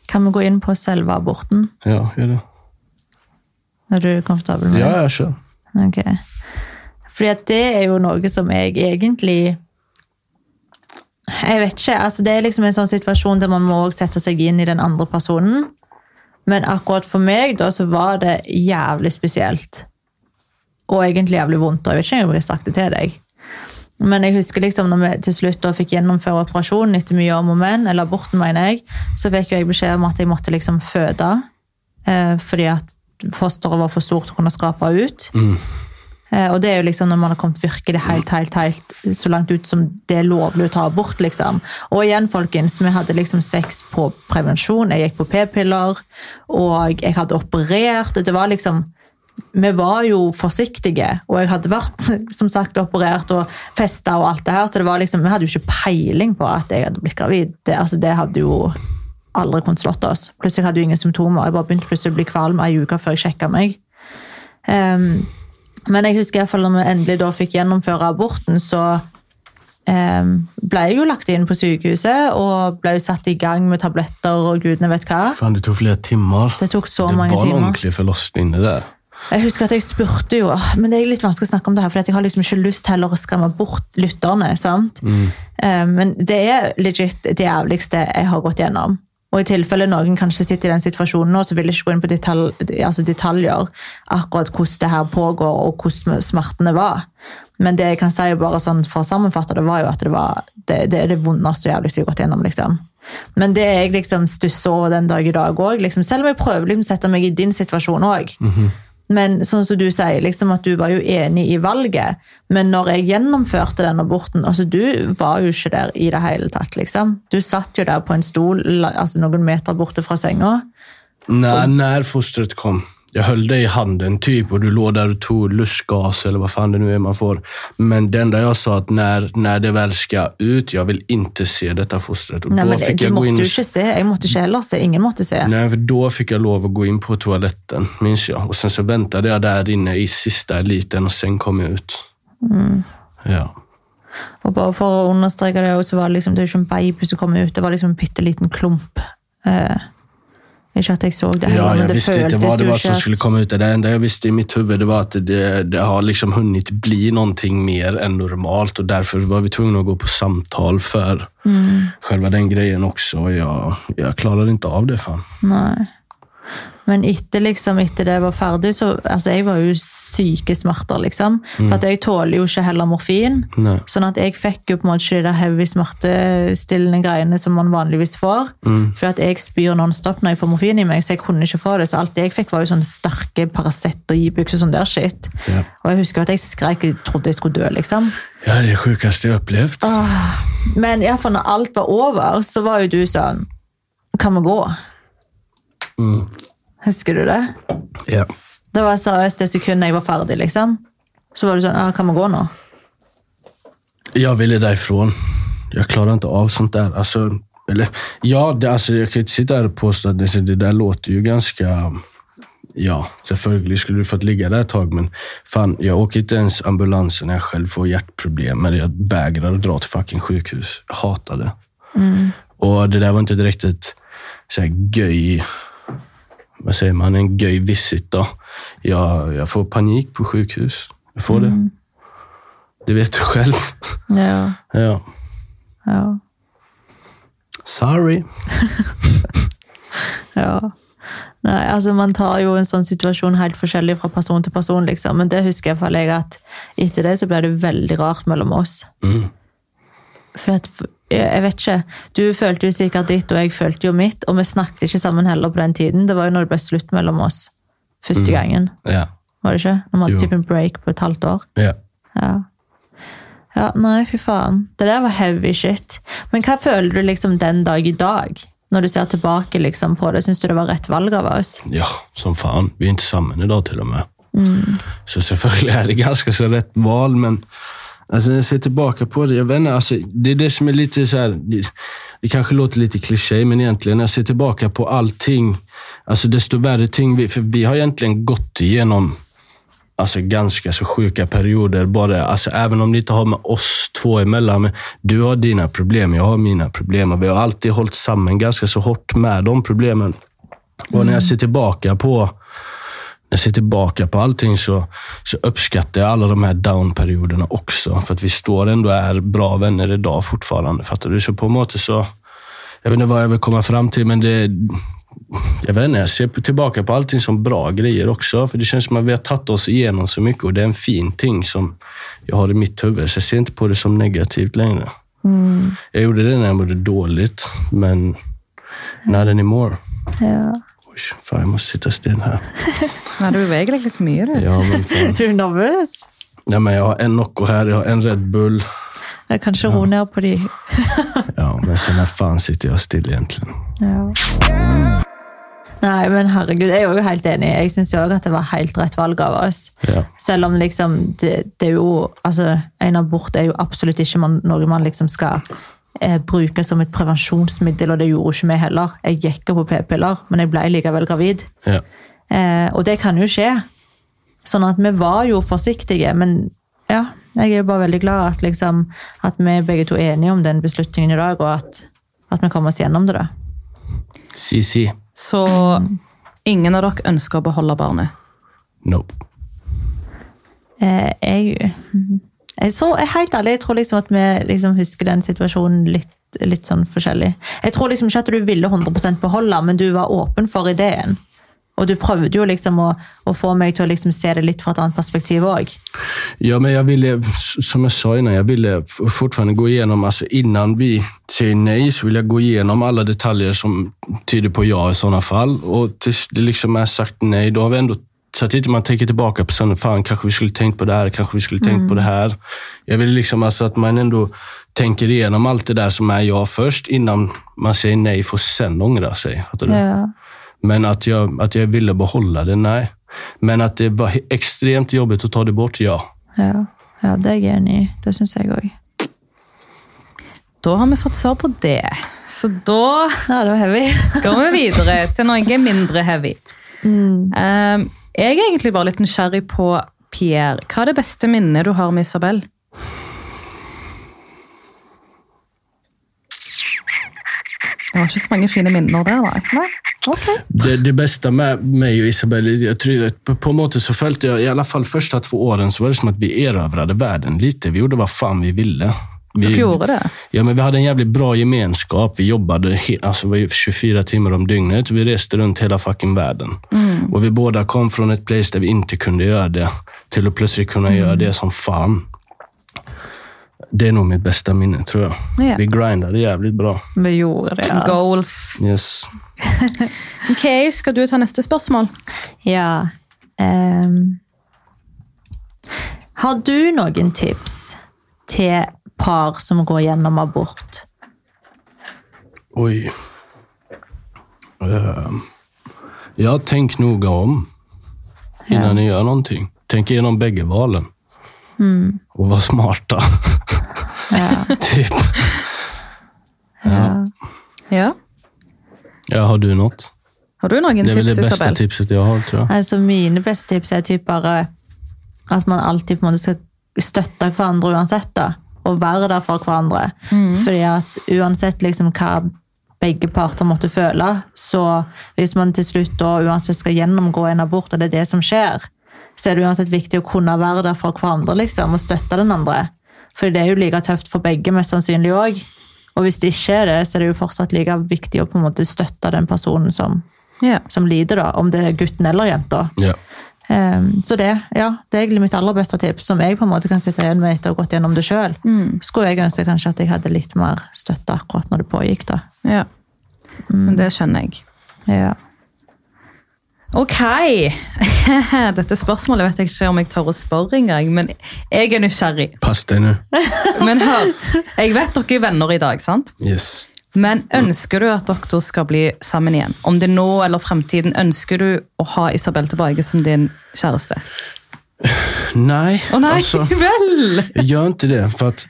Kan vi gå inn på selve aborten? Ja, gör det. Er du komfortabel med det? Ja, jag kör. Ok. Fordi at det er jo noe som jeg egentlig Jeg vet ikke. altså Det er liksom en sånn situasjon der man må også sette seg inn i den andre personen. Men akkurat for meg da, så var det jævlig spesielt. Og egentlig jævlig vondt. og Jeg vet ikke om jeg har sagt det til deg. Men jeg husker liksom når vi til slutt da fikk gjennomføre operasjonen etter mye om og men, eller aborten, mener jeg, så fikk jo jeg beskjed om at jeg måtte liksom føde. Eh, fordi at fosteret var for stort til å kunne skrape ut. Eh, og det er jo liksom når man har kommet virkelig helt, helt, helt så langt ut som det er lovlig å ta abort, liksom. Og igjen, folkens, vi hadde liksom sex på prevensjon, jeg gikk på p-piller, og jeg hadde operert. Det var liksom vi var jo forsiktige, og jeg hadde vært som sagt operert og festa og alt det her, så det var liksom, vi hadde jo ikke peiling på at jeg hadde blitt gravid. Det, altså, det hadde jo aldri kunnet slått oss. Plutselig hadde jeg jo ingen symptomer. Jeg bare begynte plutselig å bli kvalm ei uke før jeg sjekka meg. Ehm, men jeg husker i hvert fall når vi endelig da fikk gjennomføre aborten, så ehm, ble jeg jo lagt inn på sykehuset og ble jo satt i gang med tabletter og gudene vet hva. Faen, det tok flere timer. Det tok så det mange var en timer. ordentlig forlossning, det der. Jeg husker at jeg spurte jo, «Åh, men det er litt vanskelig å snakke om det her, for jeg har liksom ikke lyst heller å skremme bort lytterne, sant? Eh, Men det er legit det jævligste jeg har gått gjennom. Og i tilfelle noen kanskje sitter i den situasjonen nå, så vil jeg ikke gå inn på detal altså detaljer akkurat hvordan det her pågår, og hvordan smertene var. Men det jeg kan si bare sånn for å sammenfatte det, var jo at det, var, det, det er det vondeste og jævligste jeg har gått gjennom, liksom. Men det jeg liksom stusser over den dag i dag òg, liksom, selv om jeg prøver liksom å sette meg i din situasjon òg. Men sånn som du sier, liksom at du var jo enig i valget, men når jeg gjennomførte den aborten, altså du var jo ikke der i det hele tatt, liksom. Du satt jo der på en stol, la- altså noen meter borte fra senga. När, när fostret kom. Jag höll dig i handen typ och du låg där och tog lustgas eller vad fan det nu är man får. Men det enda jag sa att när, när det väl ska ut, jag vill inte se detta fostret. Och Nei, då men fick du jag gå in måtte och- jo ikke se, jeg måtte ikke heller se, ingen måtte se. Nej, för då fick jag lov att gå in på toaletten, minns jag. Och sen så väntade jag där inne i sista eliten och sen kom jag ut. Mm. Ja. Og bare for å understreke det, så var det liksom, det er jo ikke en baby som kom ut, det var liksom en bitteliten klump. Eh, ikke at jeg så det heller, Ja, men jag det visste inte føltes vad det jo var ikke som at- skulle komma ut. Det enda jag visste i mitt huvud det var att det, det har liksom hunnit bli någonting mer än normalt och därför var vi tvungna att gå på samtal för Mm. själva den grejen också. Och Jag, jag klarade inte av det fan. Nei. Men etter, liksom, etter det var ferdig, så altså, Jeg var jo syke smerter, liksom. For at jeg tåler jo ikke heller morfin. Mm. Nei. Sånn at jeg fikk jo på en måte ikke de der heavy smertestillende greiene som man vanligvis får. Mm. For at jeg spyr nonstop når jeg får morfin i meg, så jeg kunne ikke få det. Så alt jeg fikk, var jo sånne sterke Paracet og Ibux og sånn der shit. Ja. Og jeg husker at jeg skrek jeg trodde jeg skulle dø, liksom. Ja, det är det sjukaste jag upplevt. Men i hvert fall når alt var over, så var jo du sånn Kan vi gå? Mm. Husker du det? Ja. Det var seriøst det sekundet jeg var ferdig, liksom. Så var du sånn, ah, kan vi gå nå? Jag ville därifrån. Jag klarar inte av sånt där. Alltså, Altså, eller, ja, det, alltså, jag kan ju inte sitta här och påstå att det, det där låter ju ganska... Ja, självklart skulle du fått ligga där ett tag, men fan, jag åker inte ens ambulansen när jag själv får hjärtproblem. Eller jag vägrar att dra till fucking sjukhus. Jag hatar det. Och det där var inte direkt ett så här, göj vad säger man, en göj visit då. Jag, jag får panik på sjukhus. Jag får det. Det vet du själv. Ja, Ja. ja, Sorry. ja. Nei, altså man tar jo en sånn situasjon helt forskjellig fra person til person, liksom. Men det husker jeg i hvert fall jeg at etter det så ble det veldig rart mellom oss. For at, jeg jeg vet ikke, du følte jo sikkert ditt, og jeg følte jo mitt, og vi snakket ikke sammen heller på den tiden. Det var jo når det ble slutt mellom oss. Første gangen, Ja. var det ikke? Når man Jo. hadde typ en break på et halvt år. ja. Ja, nei, fy faen. Det der var heavy shit. Men hva føler du liksom den dag i dag? Når du ser tilbake liksom på det, syns du det var rett valg av oss? Ja, som fan. Vi är inte samman idag till och med. Så selvfølgelig är det ganska så rätt val, men alltså, när jag ser tillbaka på det, jag vet inte, alltså, det är det som är lite så här, det, det kanske låter lite kliché, men egentligen när jag ser tillbaka på allting, alltså desto värre ting, vi, för vi har egentligen gått igenom alltså ganska så sjuka perioder. Bara, alltså, även om det inte har med oss två emellan. Men du har dina problem, jag har mina problem. Och vi har alltid hållit samman ganska så hårt med de problemen. Och när jag ser tillbaka på jag ser tillbaka på allting så, så uppskattar jag alla de här down-perioderna också. För att vi står ändå och är bra vänner idag fortfarande. Fattar du? Så på något sätt så... Jag vet inte vad jag vill komma fram till, men det... Jag vet inte, jag ser tillbaka på allting som bra grejer också. För det känns som att vi har tagit oss igenom så mycket och det är en fin ting som jag har i mitt huvud. Så jag ser inte på det som negativt längre. Jag gjorde det när jag mådde dåligt, men not anymore. Ja. Oj, fan, jag måste sitta still här. Nei, du beveger deg litt mye, du. Ja, men fan. Er du nervøs? Nej, men jag har en Nocco här, jag har en Red Bull. Jeg kan ikke roe ned på de. Ja, men sen när fan sitter jag still egentligen? Nei, men herregud, jeg er jo helt enig. Jeg syns jo også at det var helt rett valg av oss. Ja. Selv om liksom, det, det er jo altså, En abort er jo absolutt ikke man, noe man liksom skal eh, bruke som et prevensjonsmiddel, og det gjorde jo ikke vi heller. Jeg gikk jo på p-piller, men jeg ble likevel gravid. Ja. Eh, og det kan jo skje. Sånn at vi var jo forsiktige, men ja, jeg er jo bare veldig glad at, liksom, at vi begge to er enige om den beslutningen i dag, og at, at vi kommer oss gjennom det. da. CC. Så ingen av dere ønsker å beholde barnet. Nope. Eh, jeg, jeg tror, jeg, er helt ærlig, jeg tror liksom at vi liksom husker den situasjonen litt, litt sånn forskjellig. Jeg tror liksom ikke at du ville 100 beholde, men du var åpen for ideen. Og du prøvde jo liksom å, å få meg til å liksom se det litt fra et annet perspektiv òg. Ja, men jag ville, som jag sa innan, jag ville f- fortfarande gå igenom, alltså innan vi säger nej så vill jag gå igenom alla detaljer som tyder på ja i sådana fall. Och tills det liksom är sagt nej, då har vi ändå så att inte man tänker tillbaka på sen, fan kanske vi skulle tänkt på det här, kanske vi skulle tänkt på det här. Jag vill liksom alltså att man ändå tänker igenom allt det där som är ja först innan man säger nej för att sen ångra sig. Fattar du? Ja. Men att jag, att jag ville behålla det, nej. Men att det var he- extremt jobbigt att ta det bort, ja. Ja, ja, det er jeg enig i. Det syns jeg òg. Da har vi fått svar på det. Så da Ja, det var heavy. går vi videre til noe mindre heavy. Um, jeg er egentlig bare litt nysgjerrig på Pierre. Hva er det beste minnet du har med Isabel? Det var ikke så mange fine minner der, da. Nei? Ok. Det, det bästa med mig och Isabelle, jag tror att på, på något sätt så följde jag, i alla fall första två åren, så var det som att vi erövrade världen lite. Vi gjorde vad fan vi ville. Vi, Dere gjorde det. Ja, men vi hade en jävligt bra gemenskap. Vi jobbade he- alltså, vi var 24 timmar om dygnet. Vi reste runt hela fucking världen. Och vi båda kom från ett place där vi inte kunde göra det, till att plötsligt kunna göra det som fan. Det är nog mitt bästa minne, tror jag. Ja. Vi grindade jävligt bra. Vi gjorde det. altså. ass. Goals. Yes. Ok, Skal du ta neste spørsmål? Ja. ehm. har du noen tips til par som går gjennom abort? Oj. Ehm, Ja, tänk noga om innan ni gör någonting. Tänk igenom bägge valen. Och var smarta. typ. Ja. Ja, har du något? Har du noen Det är väl tips, det bästa Isabel? tipset jag har, tror jag. Altså, mine beste tips er typ bare at man alltid på en måte skal støtte hverandre uansett. da, Og være der for hverandre. Fordi at uansett liksom hva begge parter måtte føle, så hvis man til slutt da uansett skal gjennomgå en abort, og det er det som skjer, så er det uansett viktig å kunne være der for hverandre liksom, og støtte den andre. For det er jo like tøft for begge, mest sannsynlig òg. Og hvis det ikke er det, så er det jo fortsatt like viktig å på en måte støtte den personen som Ja. som lider, da, om det er gutten eller jenta. Ja. Ehm, så det, ja, det er egentlig mitt aller beste tips, som jeg på en måte kan sitte igjen med etter å ha gått gjennom det sjøl. Skulle jeg ønske kanskje at jeg hadde litt mer støtte akkurat når det pågikk. da. ja. Men det skjønner jeg. Ja. Ok. Dette spørsmålet vet jeg ikke om jeg tør å spørre engang, men jeg er nysgjerrig. Pass dig nu. Men hør, jeg vet dere er venner i dag, sant? Yes. Men ønsker du at dere to skal bli sammen igjen? Om det er nå eller fremtiden, ønsker du å ha Isabel tilbake som din kjæreste? Nej. Å nei, alltså, vel! jag gör inte det. För att,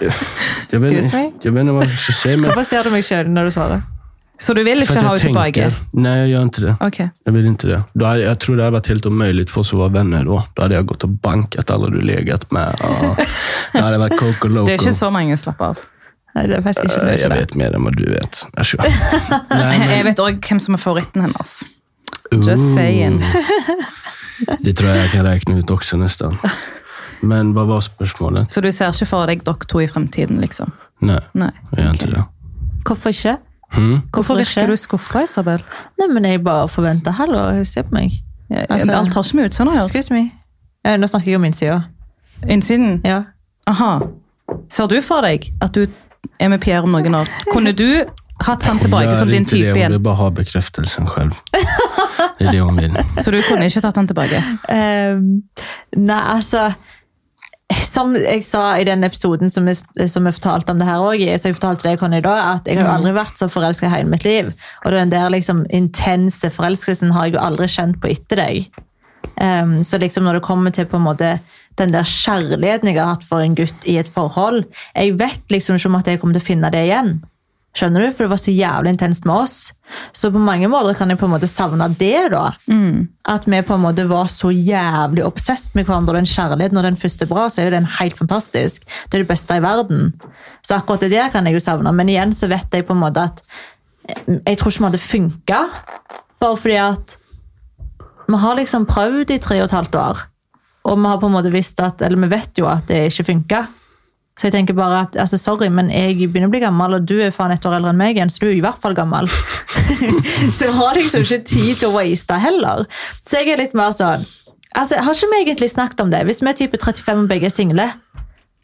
jag, vet, Excuse me? jag vet inte vad jag ska säga, men... Hvorfor ser du meg sjøl når du svarer? Så du vil För ikke att ha jag henne tilbake? tänker... Nej, jag gör inte det. Ok. Jag vill inte det. Då hade, jag tror det hade varit helt omöjligt för oss att vara vänner då. Då hade jag gått och bankat alla du legat med. Ja. Det hade varit coco loco. Det er ikke sånn- så mange slapp av. Nei, det er faktisk ikke, det Eh, er Jag ikke det. vet mer än vad du vet. Jag kör. Nej, Jeg vet òg hvem som er favoritten hennes. Ooh. Just saying. Det tror jag jag kan räkna ut också nästan. Men vad var spørsmålet? Så du ser ikke for deg dere to i fremtiden, liksom? Nei, Nei. jeg gjør ikke det. Hvorfor ikke? Mm. Hvorfor virker du skuffa, Isabel? Nei, men jeg bare forventer Hallo, se på meg. Altså- Alt har ikke med utseendet å gjøre. Excuse me. Eh, Nå snakker jeg om innsida. Innsiden? Ja. Aha. Ser du for deg at du er med Pierre om noen år? Kunne du hatt han tilbake som din det, type hon vill igjen? bara ha bekräftelsen själv. Det är det hon vill. Så du kunne ikke tatt han tilbake? Ehm, nei, altså Som jeg sa i den episoden som jeg, som jeg fortalte om det her òg, så har jeg fortalt Rekon i dag, at jeg har jo aldri vært så forelska i hele mitt liv. Og den der liksom intense forelskelsen har jeg jo aldri kjent på etter deg. Ehm, så liksom når det kommer til på en måte den der kjærligheten jeg har hatt for en gutt i et forhold Jeg vet liksom ikke om at jeg kommer til å finne det igjen. Skjønner du? For det var så jævlig intenst med oss. Så på mange måter kan jeg på en måte savne det, da. At vi på en måte var så jævlig obsesst med hverandre. og Den kjærligheten og den første bra, så er jo den helt fantastisk. Det er det beste i verden. Så akkurat det der kan jeg jo savne. Men igjen så vet jeg på en måte at jeg tror ikke vi hadde funka. Bare fordi at vi har liksom prøvd i tre og et halvt år. Og vi har på en måte visst at, eller vi vet jo at det ikke funka. Så jeg tenker bare at, altså sorry, men jeg begynner å bli gammel, og du er faen et år eldre enn meg igjen, så du er i hvert fall gammel. så jeg har liksom ikke tid til å waste heller. Så jeg er litt mer sånn, altså har ikke vi egentlig snakket om det? Hvis vi er type 35 og begge er single,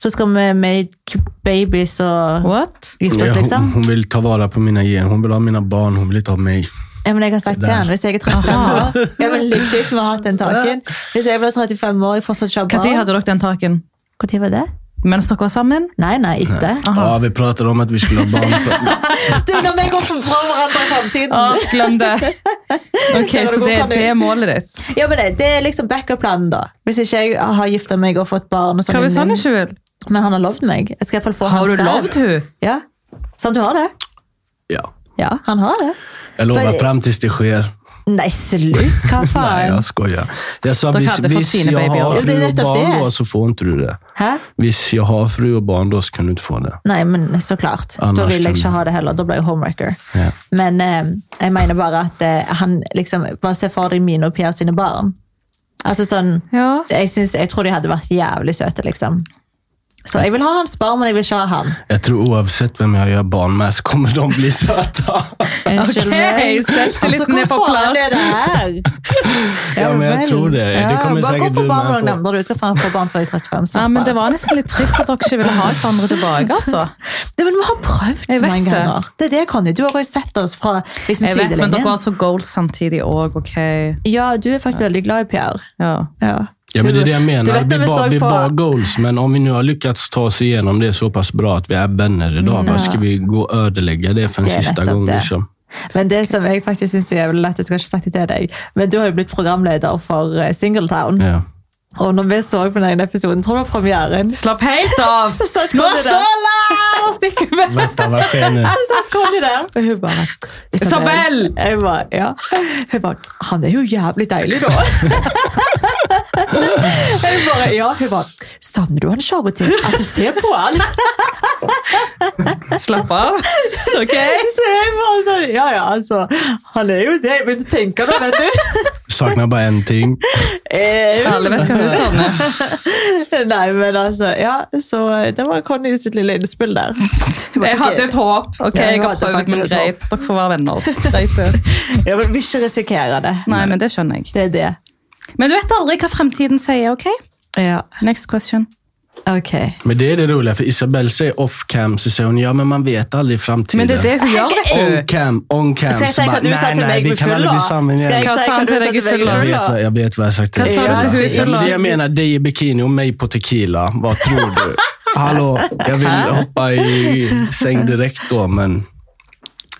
så skal vi make babies og What? gifte oss Ja, liksom. hon, hon vill ta vara på mina gen, hon vill ha mina barn, hon vill inte ha mig. Ja, men jeg har sagt til han, hvis jeg er 35 år Jeg er veldig kjipt med å ha hatt den taken. Hvis jeg blir 35 år og fortsatt ikke har Når barn hadde dere den taken? Når var det? Mens dere var sammen? Nei, nei, etter. Ja, Ah, vi pratade om att vi skulle ha barn. För, Du, når vi går fra hverandre i Å, framtiden glem det! Ok, Det var Så god det, planning. det er målet ditt? Ja, men det, det er liksom backup-planen, da. Hvis ikke jeg har gifta meg og fått barn. Og sånn Hva hvis han innen- ikke vil? Men han har lovd meg. Jeg skal i hvert fall få Har han du selv. lovd hun? Ja. Sant, du har det? ja. Ja, han har det. Jag lovar För- fram tills det sker. Nei, altså. slutt! Hva Nej, faen? jag skojar. Jag sa, Då vis, hade fått vis sina jag baby har också. Det är fru och rätt av barn det. då så får inte du det. Hæ? Hvis jag har fru och barn då så kan du inte få det. Nei, men så klart. da Annars vil jeg kan- ikke ha det heller. Da blir jeg homewrecker. Ja. Men eh, jeg mener bare at eh, han liksom Bare se for deg mine og Pierre sine barn. Altså sånn Ja. jeg, synes, jeg tror de hadde vært jævlig søte, liksom. Så jeg vil ha hans barn, men jeg vil ikke ha han. Jag tror oavsett vem jag gör barn med så kommer de bli söta. Unnskyld meg. selvtillit Altså, hvor faen er det her? Ja, men jeg vel. tror det. Det kommer bare sikkert gå for du barn med og for- nevner du. skal faen få barn før jeg er 35. Ja, men slapp det av. var nesten litt trist at dere ikke ville ha hverandre tilbake, altså. Ja, men vi har prøvd Jeg så vet mange det. ganger. Det er det, Conny. Du har jo sett oss fra liksom, Jeg vet, men dere sidelinjen. har så goals samtidig òg, ok. Ja, du er faktisk veldig glad i Pierre. Ja. Ja. Ja, men det är det jag Du menar. vet när Vi vi var, såg vi på- var goals, men om vi nu har lyckats ta oss igenom det så pass bra att vi är vänner idag, vad ska vi gå och ödelägga det för en Mm, Det är sista rätt gång? upp det. Liksom? Men det som jeg faktisk syns er jævlig lett, jeg skal ikke sagt det til deg, men du har jo blitt programleder for eh, Singletown. Ja. Og når vi så på den ene episoden, tror du det var premieren? Slapp helt av! Så satt Nå Conny der. Ståle! Nå stikker vi! Vänta, vad sker nu? Så satt Conny der. Og hun bare Isabel! Jeg bare, ja. Hun bare Han er jo jævlig deilig, da. jeg bare, ja. Hun bare Savner du han showet til? Altså, se på han! Slapp av. Ok? Så jeg bare sånn Ja, ja, altså. Han er jo det. Jeg begynte å tenke det, vet du. Saknar bara en ting. Eh, Alle vet hva hun savner. Nei, men altså, ja, så det var Conny sitt lille innspill der. Jeg hadde et håp. ok, Ja, hun Jeg har hadde prøvd, faktisk men et greit. Dere får være venner. Greit det. Ja, men vil ikke risikere det. Nei, men det skjønner jeg. Det er det. Men du vet aldri hva fremtiden sier, ok? Ja, Next question. ok. Men det är det roliga, för Isabelle säger off cam, så säger hon ja, men man vet aldrig i framtiden. Men det er det hun gjør, On vet du. cam, on cam. Skal jeg si hva du sa til meg vi med kan full, aldrig da? bli sammen Skal igen. jeg Hva si sa hva han du sa til deg i til meg full, med da? Jag full, vet, da? vad, jag vet vad jag sagt till Vad dig. sa du till Ja, Hufulla? men det jag menar, dig i bikini och mig på tequila. Vad tror du? Hallå, jag vill hoppa i säng direkt då, men...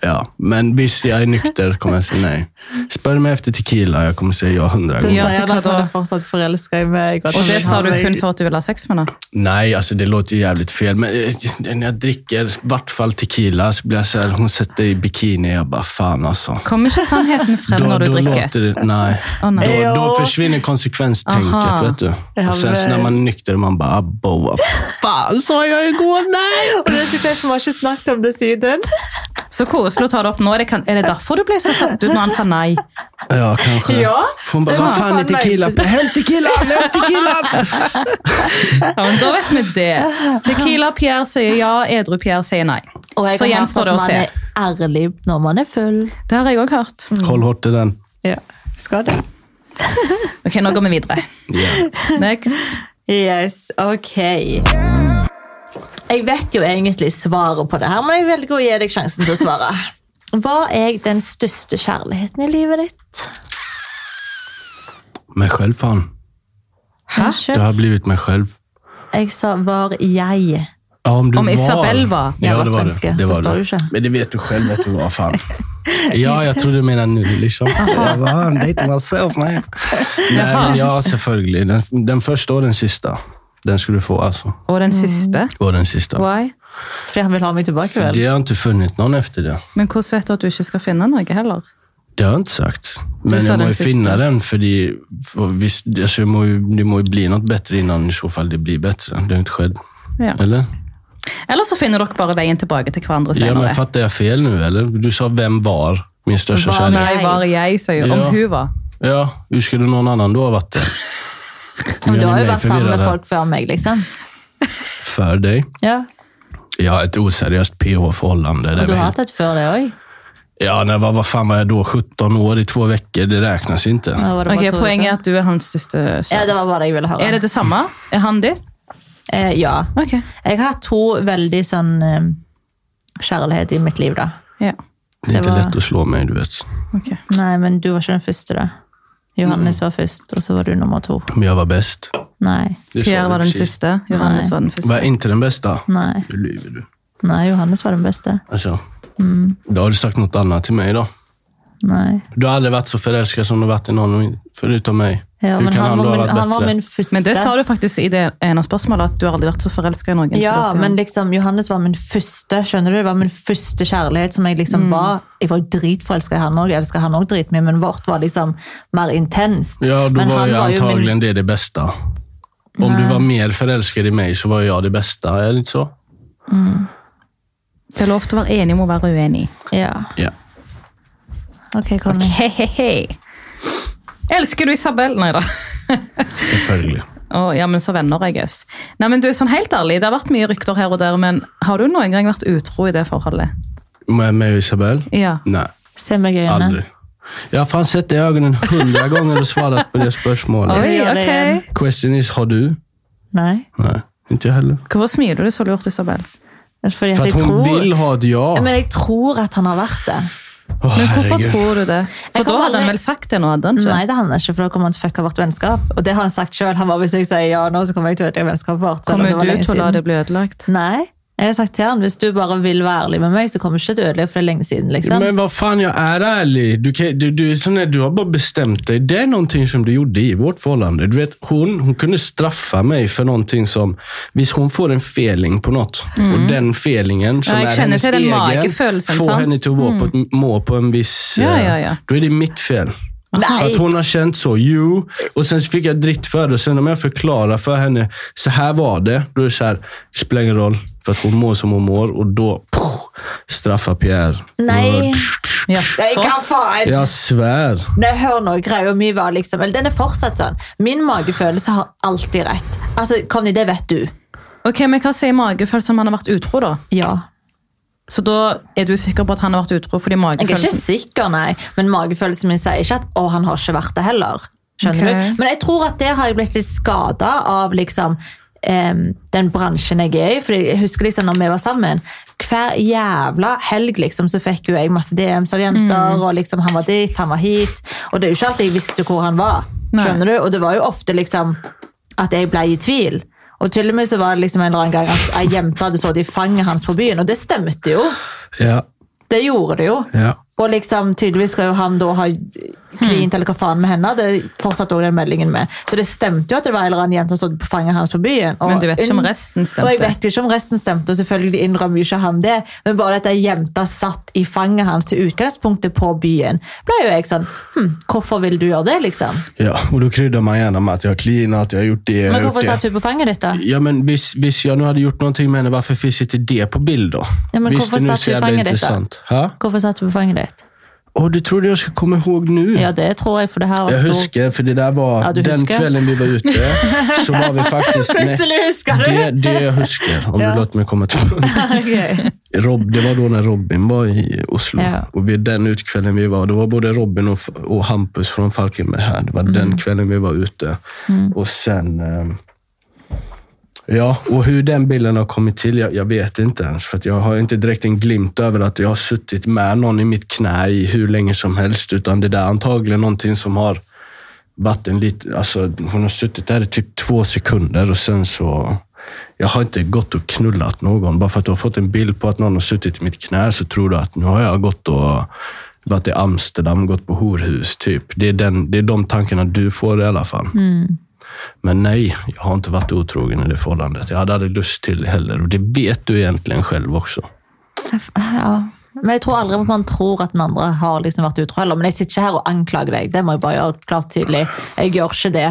Ja, men visst, jag är nykter kommer jag säga nej. Spör mig efter tequila, jeg kommer säga ja hundra Du gånger. sa Ja, jeg det at kan han ta. er fortsatt forelska i meg. Og det sa du kun for at du ville ha sex med henne. Nej, alltså det låter ju jävligt fel, men eh, när jag dricker, i vart fall tequila, så blir jag så här, hon sätter i bikini, jag bara fan alltså. Kommer ikke sannheten frem Då, når du då drikker? låter det, nej. Å, nei. Då, då Ja. försvinner konsekvenstänket, Aha. vet du. Ja, Och sen så men- när man är nykter, man bara abbo, vad fan sa jag igår? Nej! Og det er så fett, vi har ikke snakket om det siden. Så koselig å ta det opp nå. Er det, kan, er det derfor du ble så satt ut når han sa nei? Ja, kanske. Ja, Hon bara, det var vad fan är fan tequila? Hem tequilan! Hem tequilan! Ja, men da vet vi det. Tequila Pierre sier ja, edru Pierre sier nei. Og jeg Så har hørt gjenstår det at å man se. er ærlig når man er full. Det har jeg òg hørt. Håll hårt i den. Ja, skal det. Ok, nå går vi videre. Next. Yes, ok. Jeg vet jo egentlig svaret på det her, men jeg velger å gi deg sjansen til å svare. Hva er den største kjærligheten i livet ditt? Mig själv fan. Det Unnskyld, har blivit mig själv. jeg sa var jeg. Ja, om du Om var... Isabel var jävla det var svenska, det. Det var förstår det. du själv. Men det vet du själv att du var fan. Ja, jag tror du menar nu liksom. Jag bara, I'm dating myself, man. Nej, men ja, selvfølgelig. Den, den första och den sista. Den skulle du få alltså. Og den siste. Och den sista. Why? Fordi han vil ha meg tilbake, vel? Det har inte funnit någon efter det. Men hvordan vet du at du ikke skal finne noe heller? Det har jeg ikke sagt. Men sa jeg må den jo siste. finne den, fordi for hvis, altså jeg må jo, det må jo bli noe bedre innan i så fall det blir bedre. Det har ikke skjedd. Ja. Eller? Eller så finner dere bare veien tilbake til hverandre Ja, men senere. Fatter jeg feil nå, eller? Du sa 'hvem var min største Var kjærlighet'? Nei, var jeg, sier jo. Om Ja. hun var. Ja, Husker du noen annen du har vært det? Men du Gjør har ni jo meg vært sammen med forvirret folk før meg, liksom. Før deg? Ja, Jeg har et useriøst ph-forhold. og du har hatt et før det også. Ja, när jag var, vad fan var jag då? 17 år i två veckor, det räknas inte. Da var det Ok, bare to Poenget uker. er at du er hans største Ja, kjærlighet. det var bare det jeg ville høre. Er det det samme? Er han ditt? Eh, ja. Ok. Jeg har hatt to veldig sånn eh, kjærlighet i mitt liv, da. Ja. Det är inte det var- lätt att slå mig, du vet. ok. Nei, men du var ikke den første, da. Mm. Johannes var først, og så var du nummer to. Men jag var bäst. Nei. Det sa Pierre du var den precis. siste. Johannes var den Var jag første. inte den bästa? Nei. Nu lyver du. Nei, Johannes var den beste. Alltså, Mm. Då har du sagt något annat till mig då. Nei. Du har aldrig varit så förälskad som du varit i någon förutom mig. Ja, Hur men kan han, då var ha min, varit han var bättre? min første. Men det sa du faktisk i det ene spørsmålet, at du har aldri vært så forelska i noen. så Ja, dette er- men liksom, Johannes var min første skjønner du? Det var min første kjærlighet. som Jeg Mm. liksom var, jeg var jo dritforelska i han òg, jeg elska han òg dritmye, men vårt var liksom mer intenst. Ja, då men var ju jo min- antagligen det det bästa. Om du var mer förälskad i mig så var jag det bästa, är det inte så? Det er lov til å være enig om å være uenig. Ja. Ja. Ok, Conny. Hehehe. Elsker du Isabel? Nei da. Selvfølgelig. Å, ja, men så venner, I guess. Nei, men du, sånn helt ærlig, Det har vært mye rykter her og der, men har du noen gang vært utro i det forholdet? Med mig och Isabel? Ja. Nej, Se meg i øynene. aldrig. Jag har fan sett dig i ögonen hundra gånger och svarat på det spörsmålet. Oi, gjør det igjen. ok. Question is, har du? Nei. Nej, inte jag heller. Hvorfor smiler du så lurt, Isabel? Fordi För at att jeg hon tror, vill ha ett ja. Men jeg tror at han har vært det. Åh, Men hvorfor herregud. tror du det? For Jeg kan da hadde aldri- han vel sagt det nå, hadde han ikke? Nei, det handler ikke, for da kommer han til å fucke vårt vennskap. Og det har han sagt selv. Han bare, hvis jeg sier ja nå, så kommer jeg til å ødelegge vennskapet vårt. selv om det Kommer var du lenge til å la siden. det bli ødelagt? Nei. Jeg har sagt til han, hvis du bare vil være ærlig med meg, så kommer ikke du til å ødelegge for det er lenge siden, liksom. Men vad fan, jag är ärlig. Du, kan, du, du, är sån där, du har bara bestämt dig. Det är någonting som du gjorde i vårt förhållande. Du vet, hon, hon kunde straffa mig för någonting som... Visst, hon får en feeling på något. Och den feelingen som Mhm. Ja, jag är känner hennes till den egen magefölelsen, får sant? Mhm. henne till att vara på ett, må på en viss... Ja, eh, ja, ja. Då är det mitt fel. För Nej. att hon har känt så, jo. Och sen fick jag dritt för det. Och sen om jag förklarar för henne, så här var det. Då är det så här, det spelar ingen roll. För att hon mår som hon mår. Och då poff, straffar Pierre. Nei. Ja, Nei, så. hva faen? Jag svär. Nei, hør nå, greia mi var liksom Eller den er fortsatt sånn. Min magefølelse har alltid rett. Altså, Conny, det vet du. Ok, Men hva sier magefølelsen om han har vært utro, da? Ja. Så da er du sikker på at han har vært utro fordi Jeg er ikke magefølelsen sikker, nei. Men magefølelsen min sier ikke at å, han har ikke vært det heller. Skjønner Ok. du? Men jeg tror at der har jeg blitt litt skada av liksom em, den bransjen jeg er i. For jeg husker liksom når vi var sammen, hver jævla helg liksom, så fikk jo jeg masse DMs av jenter, Mm. og liksom han var dit, han var hit. Og det er jo ikke alltid jeg visste hvor han var. Nei. Skjønner du? Og det var jo ofte liksom at jeg ble i tvil. Og til og med så var det liksom en eller annen gang at ei jente hadde sittet i fanget hans på byen, og det stemte jo. Ja, Det gjorde det jo. ja. Og liksom, tydeligvis skal jo han da ha klint eller hva faen med henne. Det fortsatte også den meldingen med. Så det stemte jo at det var en eller annen jente som stod på fanget hans på byen. Og Men du vet ikke om unn- resten stemte. Og jeg vet jo ikke om resten stemte, og selvfølgelig innrømmer jo ikke han det. Men bare at ei jente satt i fanget hans til utgangspunktet på byen, ble jo jeg sånn hm, Hvorfor vil du gjøre det, liksom? ja, och då kryddar man gärna med att jag har cleanat, jag har gjort det, jag har Men gjort hvorfor det. satt hun på fanget ditt, da? Ja, men visst, visst jag nu hade gjort någonting med henne, varför finns inte det på bild då? Ja, men visst varför är nu satt så du i jävla fängelse? intressant. Ha? Hvorfor satt hun på fanget ditt? Åh, du trodde jag skulle komma ihåg nu. Ja, det tror jeg, for det her var jag stor... huskar, för det där var Ja, du den huskar. kvällen vi var ute. Så var vi faktiskt... Nej, husker det, det jag huskar, om Ja. du låter mig komma till... Ok. Rob, det var då när Robin var i Oslo. Ja. Och vid den utkvällen vi var, då var både Robin och, och Hampus från Falkenberg här. Det var den kvällen vi var ute. Och sen... eh, Ja, och hur den bilden har kommit till, jag, jag vet inte ens. För att jag har inte direkt en glimt över att jag har suttit med någon i mitt knä i hur länge som helst. Utan det där är antagligen någonting som har varit en liten... Alltså, hon har suttit där i typ två sekunder och sen så... Jag har inte gått och knullat någon. Bara för att du har fått en bild på att någon har suttit i mitt knä så tror du att nu har jag gått och varit i Amsterdam, gått på horhus. Typ. Det, är den, det är de tankarna du får i alla fall. Men nej, jag har inte varit otrogen i det förhållandet. Jag hade aldrig lust till det heller. Och det vet du egentligen själv också. Ja. Men jeg tror aldri at man tror at den andre har liksom vært utro heller. Men jeg sitter ikke her og anklager deg, det må jeg bare gjøre klart tydelig. Jeg gjør ikke det.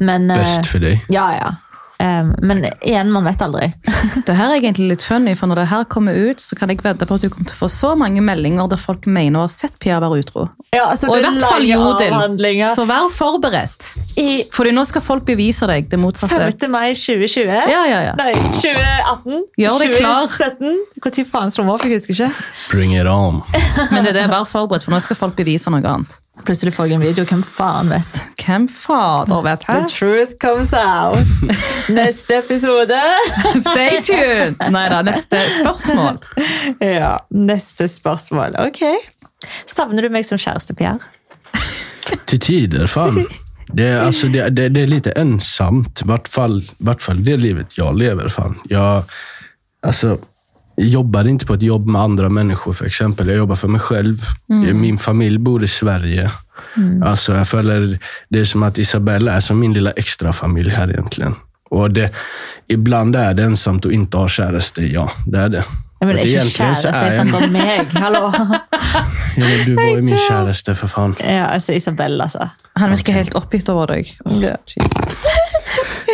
Men, eh, Bäst för dig. Ja, ja. Eh, men igjen, man vet aldri. Det her er egentlig litt funny, for når det her kommer ut, så kan jeg vedde på at du kommer til å få så mange meldinger der folk mener å ha sett Pia være utro. Ja, altså, Og i det er hvert fall lange Jodel. avhandlinger. Så vær forberedt. I Fordi nå skal folk bevise deg det motsatte. 5. mai 2020 Ja, ja, ja. Nei, 2018. Gjør deg klar. 2017. Når faen slår opp? Jeg husker ikke. Bring it on. Men det er det, vær forberedt, for nå skal folk bevise noe annet. Plutselig får jeg en video. Hvem faen vet? Hvem fader vet her? truth comes out. Neste episode. Stay tuned! Nei da, neste spørsmål. ja, neste spørsmål. Ok. Savner du meg som kjæreste, Pierre? Till tider, fan. Det är, alltså, det, det, det är lite ensamt, i vart fall, vart fall det livet jag lever. Fan. altså, Jag alltså, jag jobbar inte på ett jobb med andra människor, för exempel. Jag jobbar för mig själv. Mm. Min familj bor i Sverige. Alltså, jag följer, det är som att Isabella är som min lilla extra familj här egentligen. Och det, ibland är det ensamt och inte ha kjæreste, ja. Det är det. Ja, men För det att er ikke egentligen så kjæreste, är jeg jag- snakker om meg. Hallo. Ja, men Du var ju min kjæreste, for fan. ja, altså Isabel, altså. Han virker helt oppgitt over deg. Jesus.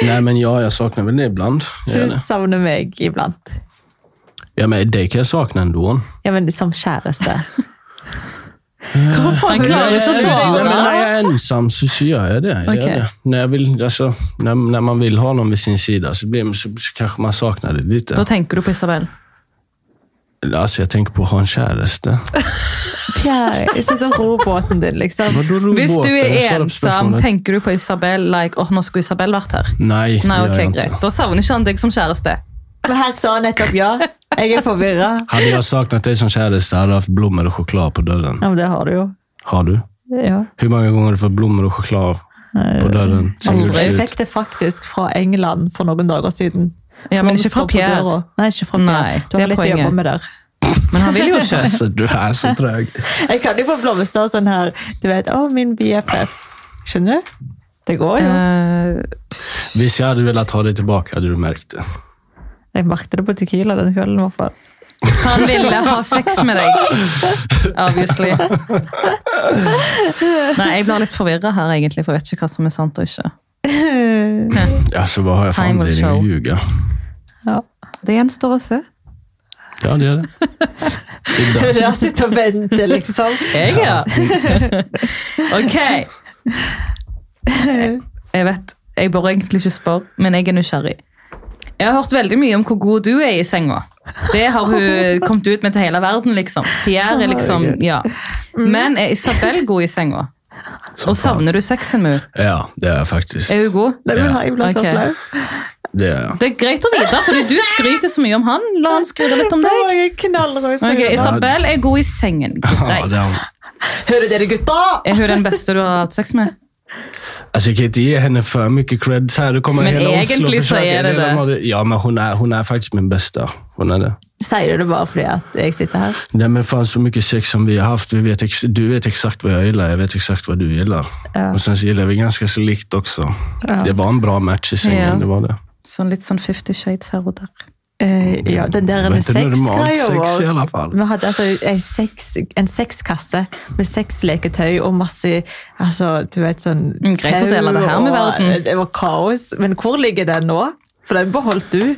Nej, men ja, jag saknar väl det ibland. Jag Så gör du det. savner meg iblant. Ja, men det kan jag sakna ändå. Ja, men som kjæreste. Han klarer ikke å Nej, men svare. när jag är ensam så, så gör jag det. Jag gör Okej. det. När, jag vill, alltså, när, när altså, man vill ha någon vid sin sida så, blir, så, så kanske man saknar det Da lite. tenker du på Isabel. Alltså, jag tänker på att ha en käreste. Pierre, slutt å ro båten din, liksom. Vadå ro i Hvis du båten? er Jag svarar på ensam, spørsmålet. tenker du på Isabel like, åh, nå skulle Isabel vært her? Nej, det Nei, gör ok, jag greit. inte. Da savner ikke han deg som kjæreste. Men han sa nettopp ja. Jeg er forvirra. Hade jag saknat dig som käreste hade jag haft blommor och choklad på dörren. Ja, men det har du jo. Har du? Ja. Hur många gånger har du fått blommor og choklad på dörren? sen aldrig. Jeg julslut? fikk det faktisk fra England for noen dager siden. Ja, Så men man ikke står fra på Pierre. døra. Nei, ikke fra Pierre. Nei, du det har er litt å jobbe poenget. med der. Men han vil jo ikke. Alltså, du är så trög. Jeg kan jo få blomster sånn her, du vet, å, min BFF. Skjønner du? Det går jo. Eh, Hvis jag hade velat ha dig tillbaka hade du märkt det. Jeg merket det på Tequila den kvelden. i hvert fall. han ville ha sex med deg. Obviously. Nei, jeg blir litt forvirra her, egentlig, for jeg vet ikke hva som er sant og ikke. Alltså, vad har jag för Time will anledning att show. ljuga? Ja. Det gjenstår å se. Ja, det är det. Det är dags. Jeg sitter og venter, liksom. Jeg, ja. Ok. Jeg vet, jeg bør egentlig ikke spørre, men jeg er nysgjerrig. Jeg har hørt veldig mye om hvor god du er i senga. Det har hun kommet ut med til hele verden, liksom. Pierre er liksom, ja. Men er Isabel god i senga? Og savner du sexen med henne? Ja, det er jeg faktisk. Er hun god? Nei, men jeg ble så Ok. flau. Det er jeg. Det er greit å vite, fordi du skryter så mye om han. La han skryte litt om Å, deg. jeg er knallrød. Ok, Isabel er god i sengen. Ja, det Greit. er hun. Hører dere, gutta? Er hun den beste du har hatt sex med? Altså, jeg kan ikke gi henne for mye cred. Så her, det kommer Men hele Oslo egentlig og så forsøker er det redan det. ha Ja, men hun er, hun er faktisk min beste. Hun er det. Sier du det bare fordi at jeg sitter her? Nei, men faen, så mye sex som vi har haft. Vi vet ex du vet eksakt hva jeg liker, jeg vet eksakt hva du liker. Og så liker vi ganske likt også. Det var en bra match i sengen, Ja. det var det. Sånn litt sånn Fifty Shades her og der. Eh, ja, den der Det var med ikke normalt sexgreia sex i vår. alle fall. Vi hadde altså en, sex, en sexkasse med sexleketøy og masse altså, du vet, sånn Mm, greit å dele det her med og- verden. Det var kaos. Men hvor ligger den nå? For den beholdt du.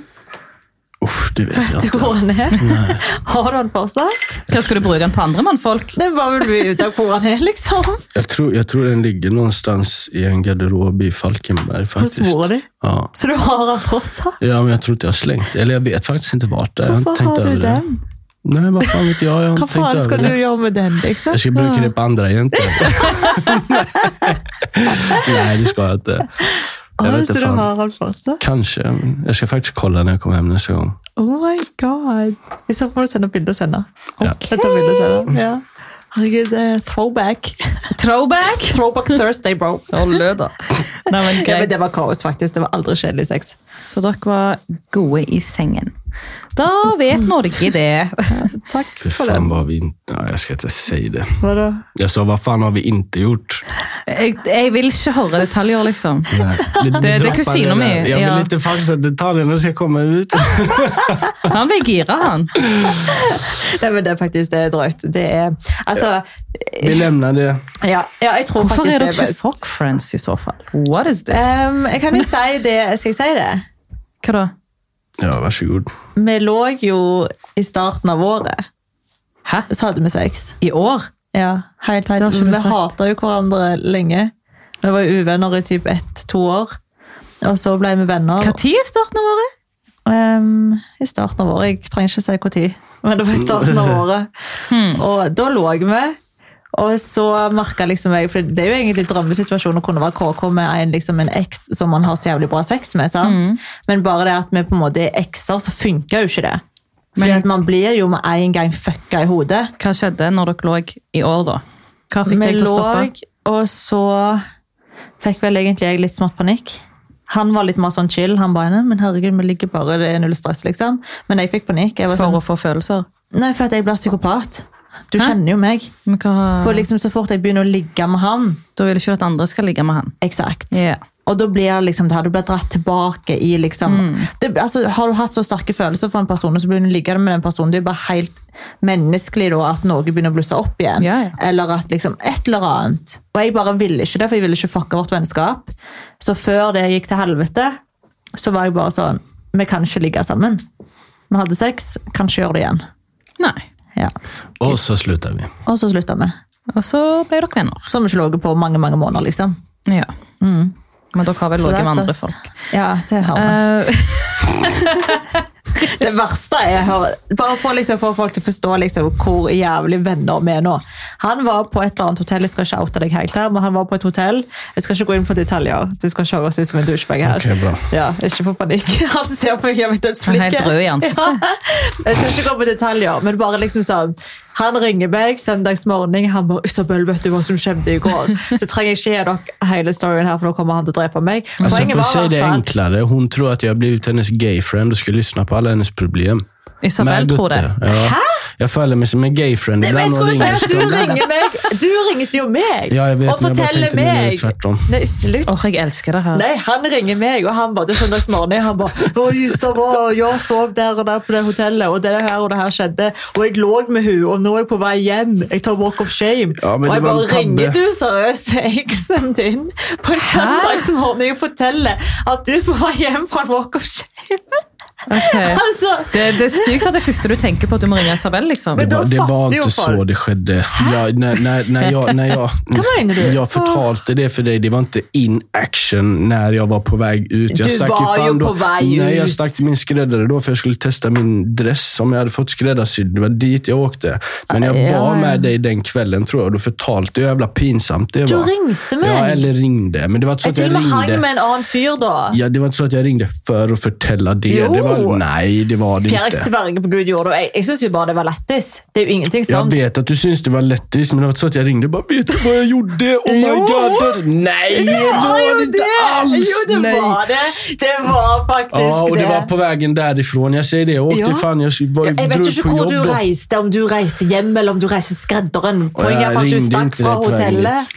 Uff, det vet Vet jeg du ikke. hvor han er? Har du han fortsatt? Hva skal du bruke den på andre mannfolk? Det er bare vil bli ut av hvor han er, liksom. Jag tror, jag tror den ligger någonstans i en garderob i Falkenberg Hos faktiskt. mora di. Ja. Så du har han fortsatt? ja, men jag tror inte jag har slängt. Eller jag vet faktiskt inte vart det är. Jag Hvorfor tänkt har över du det. den? Nej, vad fan vet jag? Jag har Hva inte tänkt faen över skal du det. gjøre med den, liksom? Jag ska bruka det på andra egentligen. Nej, det ska jag inte. Ja, Jag vet så inte du fan. har han fortsatt? Kanske. men Jag ska faktiskt kolla när jag kommer hem nästa gång. Oh my god. I så fall må du sende bilde og sende. Ja. Jeg tar bilde og sender. Ja. Herregud, det er throwback. Throwback? Throwback Thursday, bro. Nei, men Ja, men greit. det var kaos, faktisk. Det var aldri kjedelig sex. Så dere var gode i sengen. Da vet Norge det. Takk Det for det. fan vad vi inte... Nej, jag ska inte säga det. Hva da? Jag sa, vad fan har vi inte gjort? Jeg, jeg vil ikke høre detaljer, liksom. Nej. Vi- vi det droppar kusiner där. med, Jag vill ja. inte faktiskt att detaljerna ska komma ut. Han blir gira, han. Nei, men det er faktisk det er drøyt. Det er Altså, Vi lämnar det. ja, ja jeg tror Hvorfor faktisk er det Eh, dere er ikke best. fuck friends i så fall? What is this? Ehm, jeg kan jo si det Skal jeg si det? Hva da? Ja, varsågod. Vi lå jo i starten av året, Hæ? så hadde vi sex. I år? Ja, helt Det har teit. ikke du Vi sagt. hata jo hverandre lenge. Vi var jo uvenner i typ ett-to år. Og så ble vi venner Når i starten av året? Ehm, i starten av året. Jeg trenger ikke si når, men det var i starten av året. Hmm. Og da lå vi. Og så merka liksom jeg For det er jo egentlig drømmesituasjonen å kunne være KK med en, liksom en eks som man har så jævlig bra sex med. sant? Hmm. Men bare det at vi på en måte er ekser, så funker jo ikke det. Fordi Men- at man blir jo med en gang fucka i hodet. Hva skjedde når dere lå i år, da? Hva fikk Vi deg til å stoppe? lå, og så fikk vel egentlig jeg litt smått panikk. Han var litt mer sånn chill. Han bare, «Nei, men herregud, vi ligger bare, det er null stress, liksom. Men jeg fikk panikk. Jeg var For sånn, å få følelser? nei, for at jeg blir psykopat. Du Hæ? kjenner jo meg. Men hva, For liksom så fort jeg begynner å ligge med han, da vil ikke du at andre skal ligge med han. eksakt. Ja. Og da blir det liksom det her, du blir dratt tilbake i liksom Mm. det, altså, Har du hatt så sterke følelser for en person, og så begynner du å ligge med den personen, det er jo bare helt menneskelig da, at noe begynner å blusse opp igjen. Ja, ja. Eller at liksom et eller annet. Og jeg bare ville ikke det, for jeg ville ikke fucke vårt vennskap. Så før det gikk til helvete, så var jeg bare sånn Vi kan ikke ligge sammen. Vi hadde sex, kanskje gjøre det igjen. Nei. Ja. Och så slutar vi. Og så slutta vi. Og så ble dere venner. Så har vi ikke ligget på mange, mange måneder, liksom. Ja. Men dere har vel Mm. Så ligget that's med andre us. folk? Ja, det har vi. Eh, Det verste jeg har Bare for, liksom, for folk til å forstå liksom, hvor jævlig venner vi er nå. Han var på et eller annet hotell, jeg skal ikke oute deg helt her, men han var på et hotell. Jeg skal ikke gå inn på detaljer. Du skal ikke høres ut som en douchebag her. Ok, bra. Ja, ikke få panikk. Han ser på meg gjennom et Han dødsblikk. er helt rød i ansiktet. Jeg skal ikke gå på detaljer, men bare liksom sånn Han ringer meg søndagsmorgen. Han bare 'Isabel, vet du hva som skjedde i går?' Så trenger jeg ikke gi dere hele storyen her, for da kommer han til å drepe meg. Alltså, för att säga i det hvert fall- enklare. Hon tror att jag har blivit hennes gay-friend och ska lyssna på alla hennes problem. Isabel tror det. Ja. Jag följer mig som en gay-friend. Men jeg Ibland hon skulle si ringer at och du ska- ringer meg Du ringte jo meg Ja, jeg vet, og men jeg bare forteller tenkte det meg er tvert om. Nei, slutt. Åh, jeg elsker det her. Nei, han ringer meg, og han bare, det er søndagsmorgen, han bare, oi, så bra, jeg sov der og der på det hotellet, og det her og det her skjedde, og jeg lå med hun, og nå er jeg på vei hjem, jeg tar walk of shame, Ja, men og det jeg var bare en tabbe. ringer du seriøst til eksen din på en søndagsmorgen, og forteller at du er på vei hjem fra en walk of shame. Ok. Altså, Det, det er sykt at det første du tenker på at du må ringe Isabel, liksom. Men- Det var, Då det var fattar inte ju folk. så det skedde. Jag, när, när, när jag, när jag, Vad menar du? när jag förtalte det för dig, det var inte in action när jag var på väg ut. Jag Du stack var fan ju då, på väg Nej, jag ut. stack till min skräddare då för jag skulle testa min dress som jag hade fått skräddarsydd. Det var dit jag åkte. Men jag Ja, var ja. med dig den kvällen tror jag. Då förtalte jag hur jävla pinsamt det Du var. ringte mig. Ja, eller ringde. Men det var inte så jeg att jag til og med hang ringde. med en annen fyr da. Ja, det var inte så att jag ringde för att förtälla det. Jo. det var, nej, det var det Per, jeg inte. sverger på Gud gjorde det. og Jeg, jeg syns jo bare det var lættis. Det er jo ingenting Jag sånn. vet att du syns det var lättis, men det var så att jag ringde och bara vet du vad jag gjorde? Oh my Jo! god! Nej, det var det inte alls! Jo, det nej. var det! Det var faktisk Ja, och det det. var på vägen därifrån. Jag säger det, jag åkte Ja. fan, jag var, jeg vet drog jo ikke på hvor du jobbet. reiste, om du reiste hjem eller om du reiste skredderen. jeg Poenget er for at du ringte stakk ikke fra det poenget. hotellet.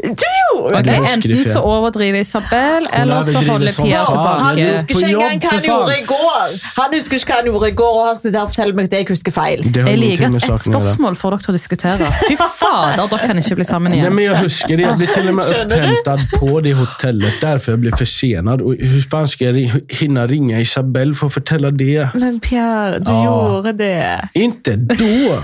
Du gjorde Ok, det! husker enten ikke. så overdriver Isabel, eller så overdriver holder som Pia sånn? faen. Han Ja, tilbake. du- husker ikke på engang jobb, hva han for faen. gjorde i går! Han husker ikke hva han gjorde i går, og han skal der fortelle meg at jeg husker feil. Det har Jeg liker ingenting at med ett saken å gjøre. spørsmål får dere til å diskutere. Fy fader, dere kan ikke bli sammen Nej, igjen. men jag huskar det. Jag blir till och med Känner du? upphämtad på det hotellet därför jag blev försenad. Och hur fan ska jag ri- hinna ringa Isabelle för att fortälla det? Ah. Men Pierre, du gjorde det. Inte då!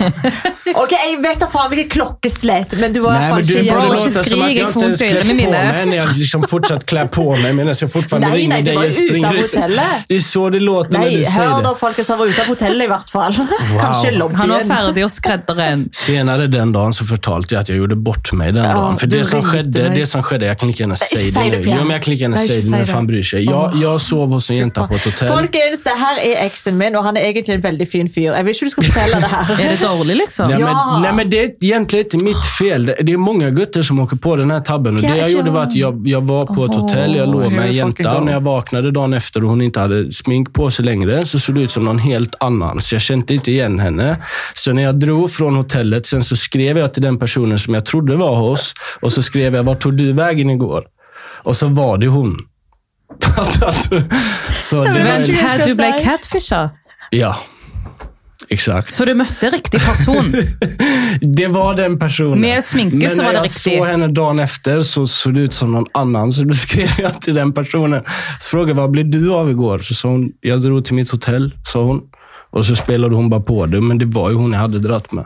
Ok, Jeg vet da faen hvilket klokkeslett, men du var i Nej, men hvert fall du ikke får det jævlig- Bro, ikke låta som skrik, att jeg jag får inte ens ont i ögonen klätt på i det. mig när jag liksom fortsatt klär på mig medan jag fortfarande Nej, ringer nej, det dig var och utan springer ut. hotellet. Det är så det Nei, låter när du hør säger da, det. folkens. Han var ute av hotellet, i hvert fall. Kanskje i Han var lobbyen. ferdig hos skredderen. Senare den dagen så förtalte jag att jag gjorde bort mig den dagen. För du det som, ringde skedde, mig. det som skedde, jag kan lika gärna Nej, säga säg det det, nu. Pierre. Jo, men jag kan lika gärna Nej, säga det säg nu, det. fan bryr sig. Jag, jag sov hos en jenta på ett hotell. Folkens, det her er eksen min, og han er egentlig en veldig fin fyr. Jeg vil ikke du skal fortelle det her. Er det dårlig, liksom? Nej, Ja. men, nej, men det är egentligen inte mitt fel. Det- Det är många gutter som åker på den här tabben. Och det jag Kanske. gjorde var att jag, jag var på ett Åh, hotell, jag låg hur med en folk jänta. igång. Och när jag vaknade dagen efter och hon inte hade smink på sig längre så såg det ut som någon helt annan. Så jag kände inte igen henne. Så när jag drog från hotellet, sen så skrev jag till den personen som jag trodde var hos. Och så skrev jag, vart tog du vägen igår? Och så var det hon. Alltså, så det var, Men ikke- her skal du ble si. catfisha, ja, exakt. så du møtte riktig person. Det var den personen. Med sminke Men så när var det jag riktigt. såg henne dagen efter så såg det ut som någon annan. Så då skrev jag till den personen. Så frågade jag, vad blev du av igår? Så sa hon, jag drog till mitt hotell, sa hon. Och så spelade hon bara på det, men det var ju hon jag hade dratt med.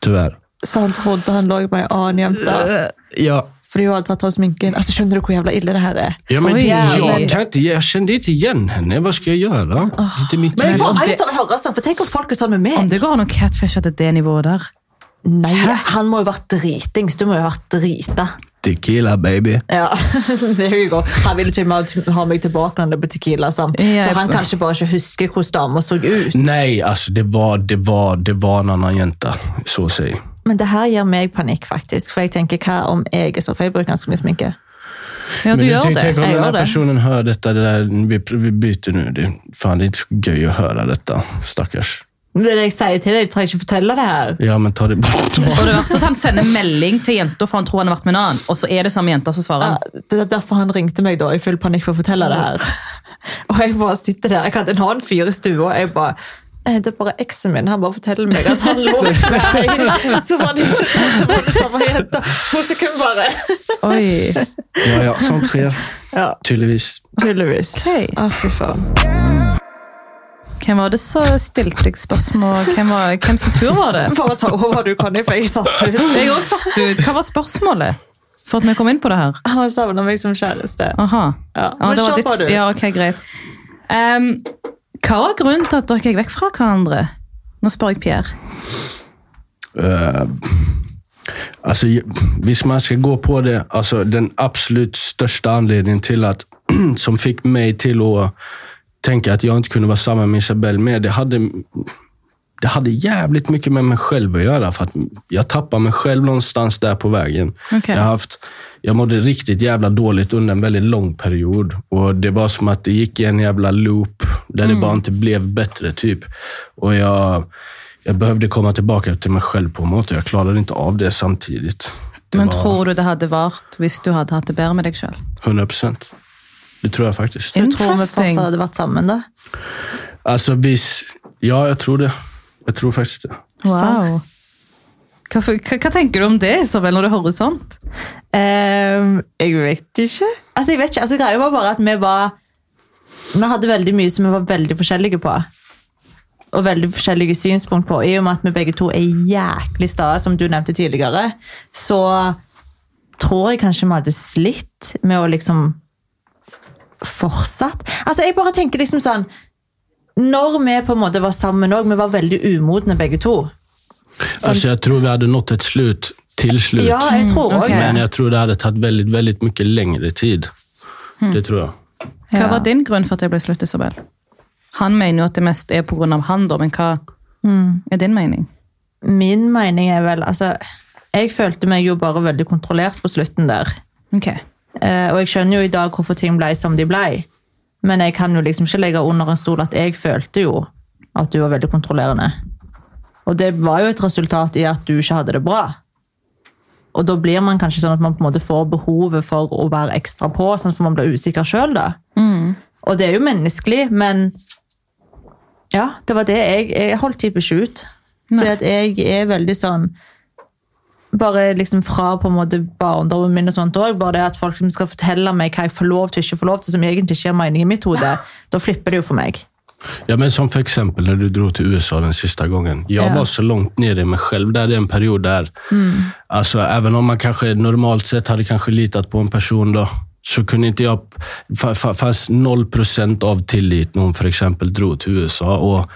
Tyvärr. Så han trodde han lå med en annen jente Ja. fordi hun hadde tatt av sminken. Altså, Skjønner du hvor jævla ille det her er? Ja, men Oj. Men- jag, kan inte, jeg kände inte igen henne. Vad ska jag göra? Inte mitt Men jeg fel. får om det- angst av å høre sånn, for tenk om folk er sånn med Om meg. det går an å catfishe til det nivået der. Nei, han må jo ha vært dritings. Du må jo ha vært drita. Tequila baby. Ja, there you go. Han ville til og med ha meg tilbake når det ble tequila. sant? Ja, Så han jeg- kanskje bare ikke husker hvordan damer så ut. Nej, alltså det var, det var, det var en annan jänta. Så säg. Men det her gir meg panikk, faktisk. For jeg tenker, hva om jeg er så For jeg bruker ganske mye sminke. Ja, du Men gjør tänk, det. tänk om Jag den gör här det. personen hör detta, det där, vi, vi byter nu. Det, fan, det är inte så göj att höra detta. Stackars. Det er det jeg sier til deg, du trenger ikke fortelle det her. Ja, men ta det bort. Og det verste er at han sender melding til jenta for han tror han har vært med en annen, og så er det samme jenta som svarer. Ja, det er derfor han ringte meg da, i full panikk for å fortelle det her. Og jeg bare sitter der. Jeg hadde en annen fyr i stua. og jeg bare... «Eh, Det er bare eksen min. Han bare forteller meg at han lå med en, Så var han ikke tatt til på det samme jenta. To sekunder bare. Ah, Oi. Ja, ja, sånt sker. Ja, Tydligvis. tydeligvis. Hei. Å, fy faen. Hvem var det som stilte deg spørsmål? Hvem, var, hvem sin tur var det? Bare ta over du, Conny, for jeg satt ut. Jeg er også satt ut. Hva var spørsmålet? For at vi kom inn på det her. Han savna meg som kjæreste. Aha. Ja, men det var kjør ditt- på, du. Ja, ok, greit. Ehm, hva var grunnen til at dere gikk vekk fra hverandre? Nå spør jeg Pierre. Eh, alltså, ju- visst man ska gå på det, alltså, den absolut största anledningen till att, som fick mig till att tänka att jag inte kunde vara samman med Isabelle mer, det hade, det hade jävligt mycket med mig själv att göra. För att jag tappade mig själv någonstans där på vägen. Okej. Jag, har haft, jag mådde riktigt jävla dåligt under en väldigt lång period. Och Det var som att det gick i en jävla loop där det bara inte blev bättre. typ. Och jag, jag behövde komma tillbaka till mig själv på något och jag klarade inte av det samtidigt. Det Men var tror du det hadde vart hvis du hadde hatt det bedre med deg sjøl? 100 procent. Det tror jeg faktisk. Så du tror vi Interesting. fortsatt hadde vært sammen, da? Alltså, visst, ja, jeg tror det. Jeg tror faktisk det. Wow. Hva, for- hva, hva tenker du om det, Isabel, når du hører sånt? Ehm, jeg vet ikke. Altså, jeg vet ikke. Altså, greia var bare at vi var Vi hadde veldig mye som vi var veldig forskjellige på. Og veldig forskjellige synspunkt på. I og med at vi begge to er jæklig sta, som du nevnte tidligere, så tror jeg kanskje vi hadde slitt med å liksom fortsatt. Altså, jeg bare tenker liksom sånn Når vi på en måte var sammen òg, vi var veldig umodne begge to. Alltså, jag tror vi hade nått ett slut till slut. Ja, jeg tror Mm, òg ok. det. Men jag tror det hade tagit väldigt, väldigt mycket längre tid. Det tror jag. Hva Ja. var din grunn for at det ble slutt, Isabel? Han mener jo at det mest er pga. han, da, men hva er din mening? min mening er vel altså, Jeg følte meg jo bare veldig kontrollert på slutten der. Ok. Eh, og jeg skjønner jo i dag hvorfor ting ble som de ble. Men jeg kan jo liksom ikke legge under en stol at jeg følte jo at du var veldig kontrollerende. Og det var jo et resultat i at du ikke hadde det bra. Og da blir man kanskje sånn at man på en måte får behovet for å være ekstra på, sånn for man blir usikker sjøl, da. Og det er jo menneskelig, men ja, det var det jeg Jeg holdt typisk ikke ut. Fordi at jeg er veldig sånn bare liksom fra på en måte barndommen min og sånt også, bare det at folk som skal fortelle meg hva jeg får lov til og ikke får lov til, som egentlig ikke gir mening i mitt hode, da flipper det jo for meg. Ja, men som för exempel när du drog till USA den sista gången. Jag Ja. Mm. var så långt ner i mig själv där. Det är en period där, alltså, även om man kanske normalt sett hade kanske litat på en person då, så kunde inte jag... fa- fa- fanns noll procent av tillit när hon för exempel drog till USA. Och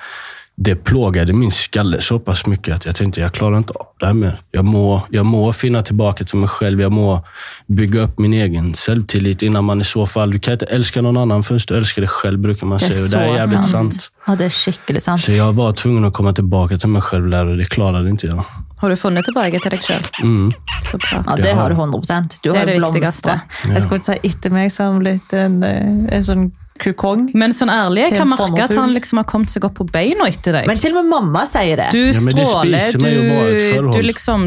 det plågade min skalle så pass mycket att jag tänkte jag klarar inte av det här mer. Jag må, jag må finna tillbaka till mig själv. Jag må bygga upp min egen selvtillit innan man i så fall... Du kan inte älska någon annan förrän du älskar dig själv, brukar man Det säga. är Och det är så jävligt sant. Ja, det er skikkelig sant. Så jag var tvungen att komma tillbaka till mig själv där och det klarade inte jag. Har du funnet tilbake til deg sjøl? Mm. Så bra. Ja, det har du 100 Du Det er har det blomstra. Jeg skulle ikke si etter meg, så har han blitt en, eh, en sånn kukong. Men sånn ærlig, jeg Til kan en merke at sommerfugl. han liksom har kommet seg opp på beina etter deg. Men til og med mamma sier det. Du Ja, men det stråler, spiser meg jo bra i et du, forhold. du liksom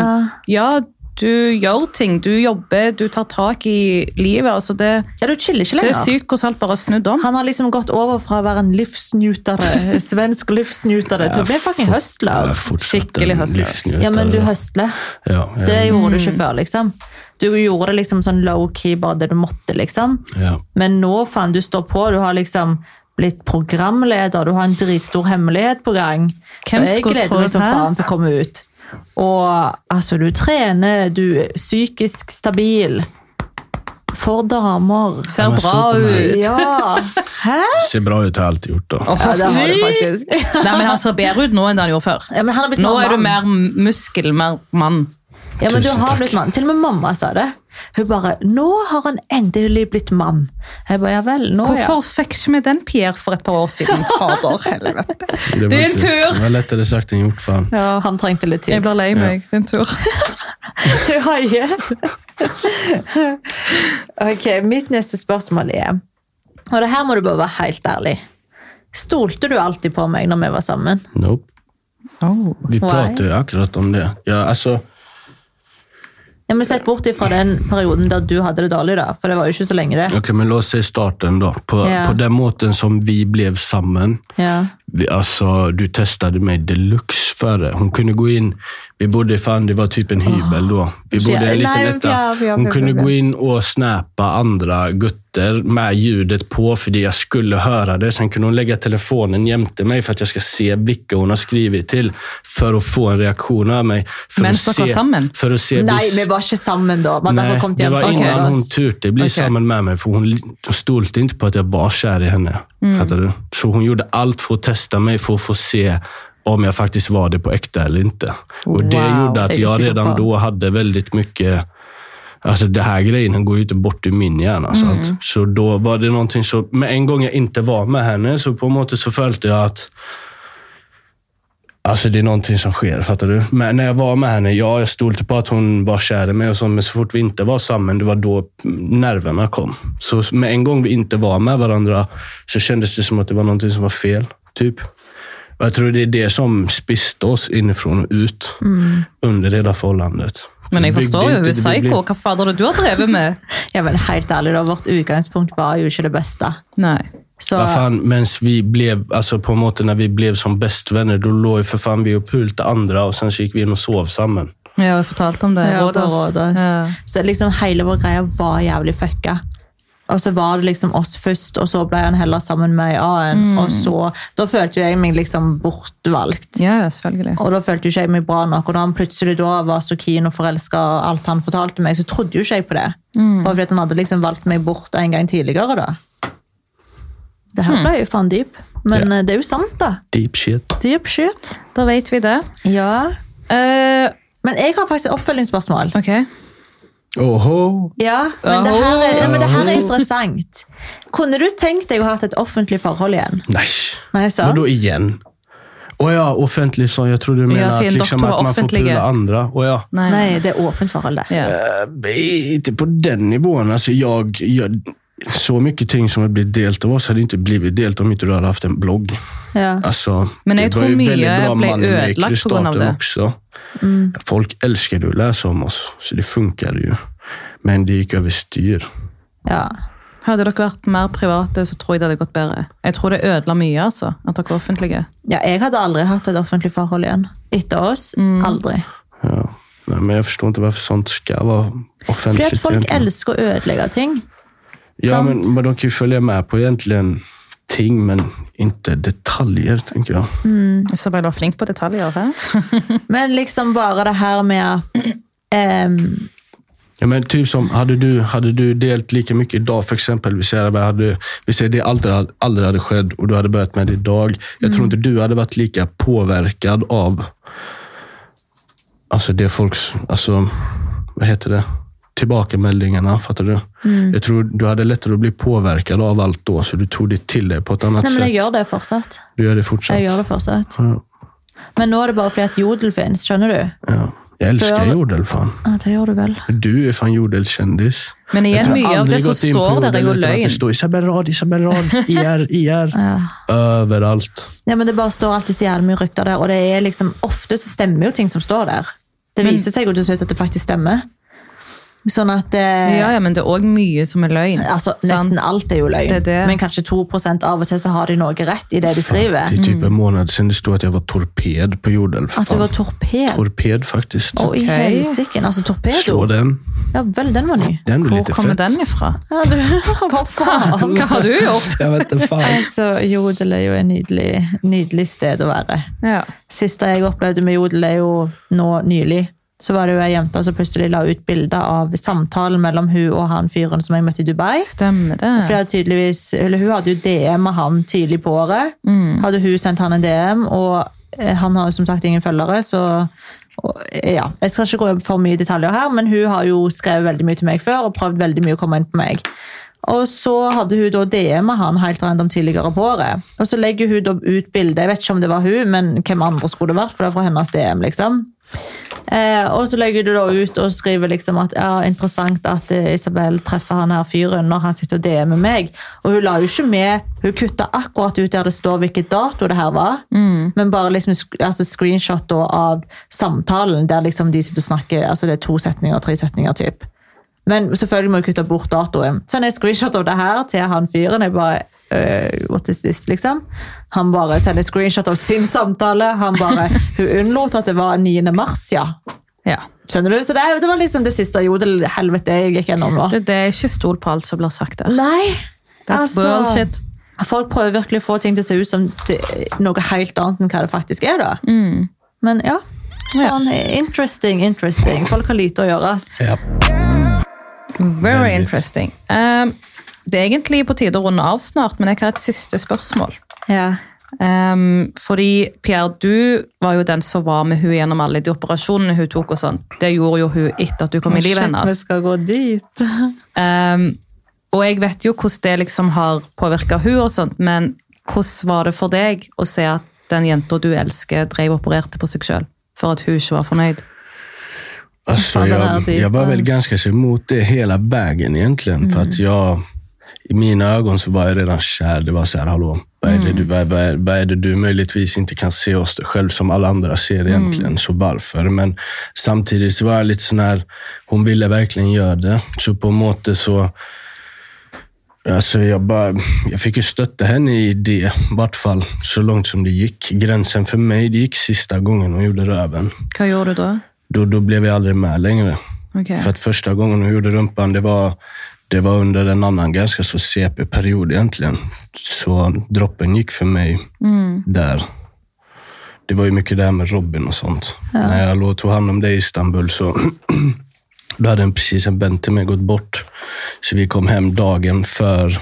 Ja, du gjør ting. Du jobber, du tar tak i livet. Altså det, ja, du chiller ikke det lenger. er sykt hvordan alt bare er snudd om. Han har liksom gått over fra å være en livsnytere, svensk livsnytere, til å bli fucking Jag är høstler. fortsatt Skicklig en hustler. livsnjutare. Ja, men du høstler. Ja, ja, Det gjorde du ikke før, liksom. Du gjorde det liksom sånn low-key, bare det du måtte, liksom. ja. Men nå, faen, du står på. Du har liksom blitt programleder. Du har en dritstor hemmelighet på gang. Hvem så jeg skulle tro gleder meg som det? faen til å komme ut. Og altså, du trener, du er psykisk stabil. For damer. Ser men bra så på meg. ut. Ja! Hæ? Det ser bra ut, har jag alltid gjort. Då. Ja, det har du faktisk. Nei, men Han ser bedre ut nå enn det han gjorde før. Ja, men han har blitt Nå mer er du mann. mer muskel, mer mann. Ja, men du Tusen har takk. blitt mann. Til og med mamma sa det. Hun bare 'Nå har han endelig blitt mann'. Jeg bare, ja vel, nå ja. Hvorfor fikk ikke vi den Pierre for et par år siden? Fader, helvete. var Det er en inte- tur. Det var lättare sagt än gjort. Fan. Han trengte litt tid. Jeg blir lei meg. Det er en tur. Ja, ja. ok, mitt neste spørsmål er Og det her må du bare være helt ærlig. Stolte du alltid på meg når vi var sammen? Nope. Oh. Vi pratade ju akkurat om det. Ja, altså, alltså, Ja, men Sett bort ifra den perioden der du hadde det dårlig, da. For det var jo ikke så lenge, det. Okej, men låt säga starten då. På, Ja. på den måten som vi blev samman. Ja. Vi, alltså, du testade mig deluxe före. Hon kunde gå in, vi bodde fan, det var typ en hybel då. Vi bodde i Ja, en liten nej, ja, etta. ja, Hon ja, kunde ja, ja. gå in och snäpa andra gutter med ljudet på för det jag skulle höra det. Sen kunde hon lägga telefonen jämte mig för att jag ska se vilka hon har skrivit till. För att få en reaktion av mig. För Men att dere var se- sammen? För att se Nei, vis- vi var ikke sammen da. Man hadde Nej, kommet eh, det hjem var fra innan Hellas. hon turte bli Okej. samman med mig, för hon li- hon stolte inte på att jag var kär i henne. Mm. Fattar du? Så hon gjorde allt för att testa mig, för att få se om jag faktiskt var det på äkta eller inte. Och Det Wow, gjorde det är att så jag bra. redan då hade väldigt mycket Alltså altså, det här grejen går ju inte bort ur min hjärna. Mm. Sant? Så då var det någonting så, men en gång jag inte var med henne så på något sätt så följde jag att Alltså det är någonting som sker, fattar du? Men när jag var med henne, ja, jag stolte på att hon var kär i mig och så, men så fort vi inte var samman, det var då nerverna kom. Så med en gång vi inte var med varandra så kändes det som att det var någonting som var fel, typ. Och jag tror det är det som spiste oss inifrån och ut under hela förhållandet. Men jeg Vi forstår byggde jo, hun er inte- det blev- psyko. Hva fader er det du har drevet med? Ja, men helt ærlig, da. Vårt utgangspunkt var jo ikke det beste. Nei. Så Vad fan, mens vi blev, alltså på en måte när vi blev som bästvänner, då låg ju för fan vi och pulta andra och sen så gick vi in og sov sammen. Ja, jeg fortalte om det. Ja, på Rådås. Rådås. Ja. Så liksom hele vår greia var jævlig fucka. Og så var det liksom oss først, og så ble han heller sammen med ei annen. Og så, da følte jo jeg meg liksom bortvalgt. Ja, ja, selvfølgelig. Og da følte jo ikke jeg meg bra nok. Og da han plutselig da var så keen og forelska og alt han fortalte meg, så trodde jo ikke jeg på det. Bare fordi at han hadde liksom valgt meg bort en gang tidligere, da. Det her ble jo faen dyp. Men Ja. eh, det er jo sant, da. Deep shit. Dyp shit. Da vet vi det. Ja. Eh, Men jeg har faktisk et oppfølgingsspørsmål. ok. Oho. Ja, men det her er, ja, men det her er interessant. Kunne du tenkt deg å ha hatt et offentlig forhold igjen? Nej. Nei, sant? Vadå igen? Och ja, offentlig sån. Jag trodde du menade säger att, en liksom, doktor att man får offentliga. pula andra. Och ja. Nei. Nei, det er åpent forhold, det. Ja. Eh, inte på den nivån. Alltså jag, jag, altså, så mycket ting som har blivit delt av oss hade inte blivit delt om inte du hade haft en blogg. Ja. Alltså, Men jag det var tror ju mye väldigt bra ble man i ödelagt på grund av starten det. Mm. också. Folk älskade att läsa om oss, så det funkade ju. Men det gick över styr. ja. Hadde dere vært mer private, så tror jeg det hadde gått bedre. Jeg tror det ødela mye, altså, at dere var offentlige. Ja, jeg hadde aldri hatt et offentlig forhold igjen. Etter oss. Aldri. Ja. Nej, men jag förstår inte varför sånt ska vara Fordi offentligt. at folk egentligen. elsker å ødelegge ting. ja, sant. men, men de kan ju följa med på egentligen ting, men inte detaljer, tänker jag. Isabel var flink på detaljer. Her. Men liksom bare det her med at ehm, Ja, men typ som, hade du, hade du delat lika mycket idag, för exempel, vi säger, hade, du- vi säger det aldrig, hade- aldrig hade skett och du hade börjat med det idag. Jag Mm. tror inte du hade varit lika påverkad av alltså det folks, alltså, vad heter det, tillbakameldingarna, fattar du? Mm. Jag tror du hade lättare att bli påverkad av allt då, så du tog det till dig på ett annat Nei, men jeg sätt. gjør det fortsatt. Du gör det fortsatt. Jeg gjør det fortsatt. Ja. Men nå er det bare fordi at jodel finnes, skjønner du? Ja. Jag älskar För- jodel, fan. Ja, det gjør du vel. Du är fan jordelkändis. Men Jag igjen, tror jag mye av aldrig det som gått in på står der, jorden er jo utan att Det løgn. står Isabel Rad, Isabel Rad, IR, IR. Överallt. Ja, men Det bare står alltid så jævlig mye rykter der, og det er liksom, ofte så stemmer jo ting som står der. Det viser seg jo til slutt at det faktisk stemmer. Sånn at eh, Ja, ja, men det er òg mye som er løgn. altså, sant? Nesten alt er jo løgn, Det er det. men kanskje 2 av og til så har de noe rett i det de Det skriver. är typ en Mm. månad sedan det stod att jag var torped på jorden. För At du fan. var torped. Torped faktiskt. Å, i Ok. helsiken. Altså torpedo. Slå den. Ja vel, den var ny. Den var Hvor lite kommer fett. den ifra? Ja, du, hva faen? Hva har du gjort? Jag vet inte fan. Altså, Jodel er jo et nydelig, nydelig sted å være. Ja. Siste jeg opplevde med Jodel, er jo nå nylig. Så var det jo ei jente som plutselig la ut bilde av samtalen mellom hun og han fyren som jeg møtte i Dubai. Stemmer For det. jeg hadde tydeligvis, eller Hun hadde jo DM med han tidlig på året. Hadde hun sendt han en DM, og eh, han har jo som sagt ingen følgere, så og, eh, ja. Jeg skal ikke gå for mye i detaljer her, men hun har jo skrevet veldig mye til meg før og prøvd veldig mye å komme inn på meg. Og så hadde hun da DM med han helt random tidligere på året. Og så legger hun da ut bilde, jeg vet ikke om det var hun, men hvem andre skulle det vært, for det er fra hennes DM, liksom. Eh, og så legger du da ut og skriver liksom at ja, interessant at eh, Isabel treffer han her fyren når han sitter og DM-er meg. Og hun la jo ikke med Hun kutta akkurat ut der det står hvilken dato det her var, men bare liksom sk- altså screenshot da av samtalen der liksom de sitter og snakker altså Det er to setninger, tre setninger, typ. Men selvfølgelig må jeg kutte bort datoen. Så når jeg screenshot av det her til han fyren, jeg bare øh, what is this, liksom? Han bare sender screenshot av sin samtale. Han bare, hun unnlot at det var 9. mars, ja. Ja. Skjønner du? Så det, er- det var liksom det siste jodel-helvete jeg gikk gjennom nå. Det, det er ikke stol på alt som blir sagt der. Nei, That's altså. bullshit. Folk prøver virkelig å få ting til å se ut som det, noe helt annet enn hva det faktisk er, da. Men ja. Mm. Ja. Faen, Interesting, interesting. Folk har lite å gjøre. ass. Ja. Very Veldig. interesting. Um, det er egentlig på tide å runde av snart, men jeg har et siste spørsmål. Ja. Um, fordi Pierre, du var jo den som var med hun gjennom alle de operasjonene hun tok og sånn. Det gjorde jo hun etter at du kom i livet Shit, vi hennes. skal gå dit. Um, og jeg vet jo hvordan det liksom har påvirka hun og sånt, men hvordan var det for deg å se at den jenta du elsker, drev og opererte på seg sjøl for at hun ikke var fornøyd? Alltså, Fan, den jag, här typen. jag var väl ganska så emot det hela vägen egentligen. För att Mm. jag, i mina ögon så var jag redan kär. Det var så här, hallå, vad är, det Mm. du, vad, vad, är- vad är det du möjligtvis inte kan se oss själv som alla andra Mm. ser egentligen? Så varför? Men samtidigt så var jag lite sån här, hon ville verkligen göra det. Så på måte så, Alltså jag, bara, jag fick ju stötta henne i det, i vart fall så långt som det gick. Gränsen för mig, det gick sista gången hon gjorde röven. Hva gjorde du da? Då, då blev jag aldrig med längre. Ok. För att första gången hon gjorde rumpan, det var, det var under en annan ganska så CP-period egentligen. Så droppen gick för mig där. Det var ju mycket det här med Robin och sånt. När jag låg, tog hand om dig i Istanbul så då hade en, precis en vän till mig gått bort. Så vi kom hem dagen för,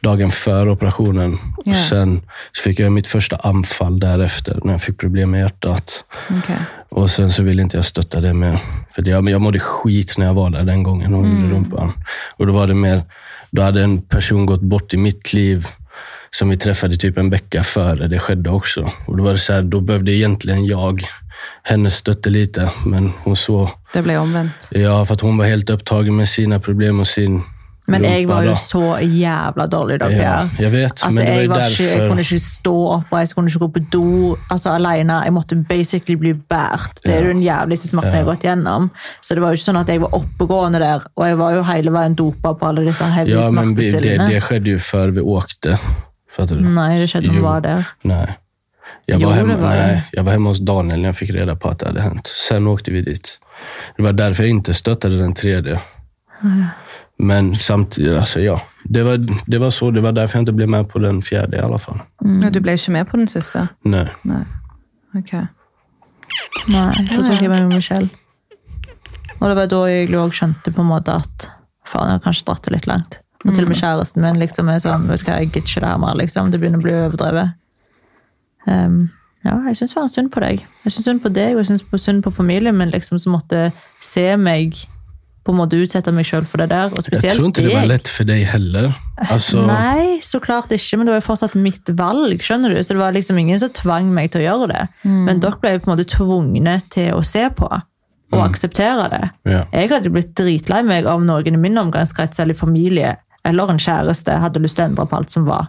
dagen för operationen. Ja. Och sen så fick jag mitt första anfall därefter, när jag fick problem med hjärtat. Ok. Och sen så ville inte jag stötta det mer. För att jag, jag mådde skit när jag var där den gången hon Mm. gjorde rumpan. Och då var det mer, då hade en person gått bort i mitt liv som vi träffade typ en vecka före det skedde också. Och då var det så här, då behövde egentligen jag hennes stötte lite, men hon så, Det ble omvendt. ja för att hon var helt upptagen med sina problem och sin Men jeg var jo da. så jævla dårlig, dere. Ja, jeg vet, Altså, men det var jeg, jo var ikke, jeg kunne derfor ikke stå opp, og jeg kunne ikke gå på do altså, alene. Jeg måtte basically bli båret. Det er jo den jævligste smerten jeg har gått gjennom. Så det var jo ikke sånn at jeg var oppegående der, og jeg var jo hele veien dopa på alle disse heavy Ja, men vi, det, smertestillende. det skedde ju før vi åkte. Fattar du? Nei, det skjedde når vi Jo. var der. Nej. Jag Jo, var, hemma, det var det. nej, jag var hemma hos Daniel när jag fick reda på att det hade hänt. Sen åkte vi dit. Det var därför jag inte stöttade den tredje. Men samtidigt, alltså ja. Det var, det var så, det var därför jag inte blev med på den fjärde i alla fall. Ja, Du ble ikke med på den siste? Nej. Nei. Ok. Nei, da tok jeg meg med Michelle. Og det var da jeg egentlig også skjønte på en måte at faen, jeg har kanskje dratt det litt langt. Og til og med kjæresten min liksom er sånn vet du hva, jeg gidder ikke det her mer. liksom. Det begynner å bli overdrevet. Ehm, ja, jeg syns faen synd på deg. Jeg syns synd på deg, og jeg syns på- synd på familien min, liksom, som måtte se meg på en måte utsette meg sjøl for det der. Og spesielt Jag tror inte det var deg. lätt för dig heller. Altså, Alltså, Nei, så klart ikke, men det var jo fortsatt mitt valg, skjønner du? Så det var liksom ingen som tvang meg til å gjøre det. Men dere ble jo på en måte tvungne til å se på og akseptere det. Ja. Jeg hadde blitt dritlei meg om noen i min omgangskrets eller familie eller en kjæreste hadde lyst til å endre på alt som var.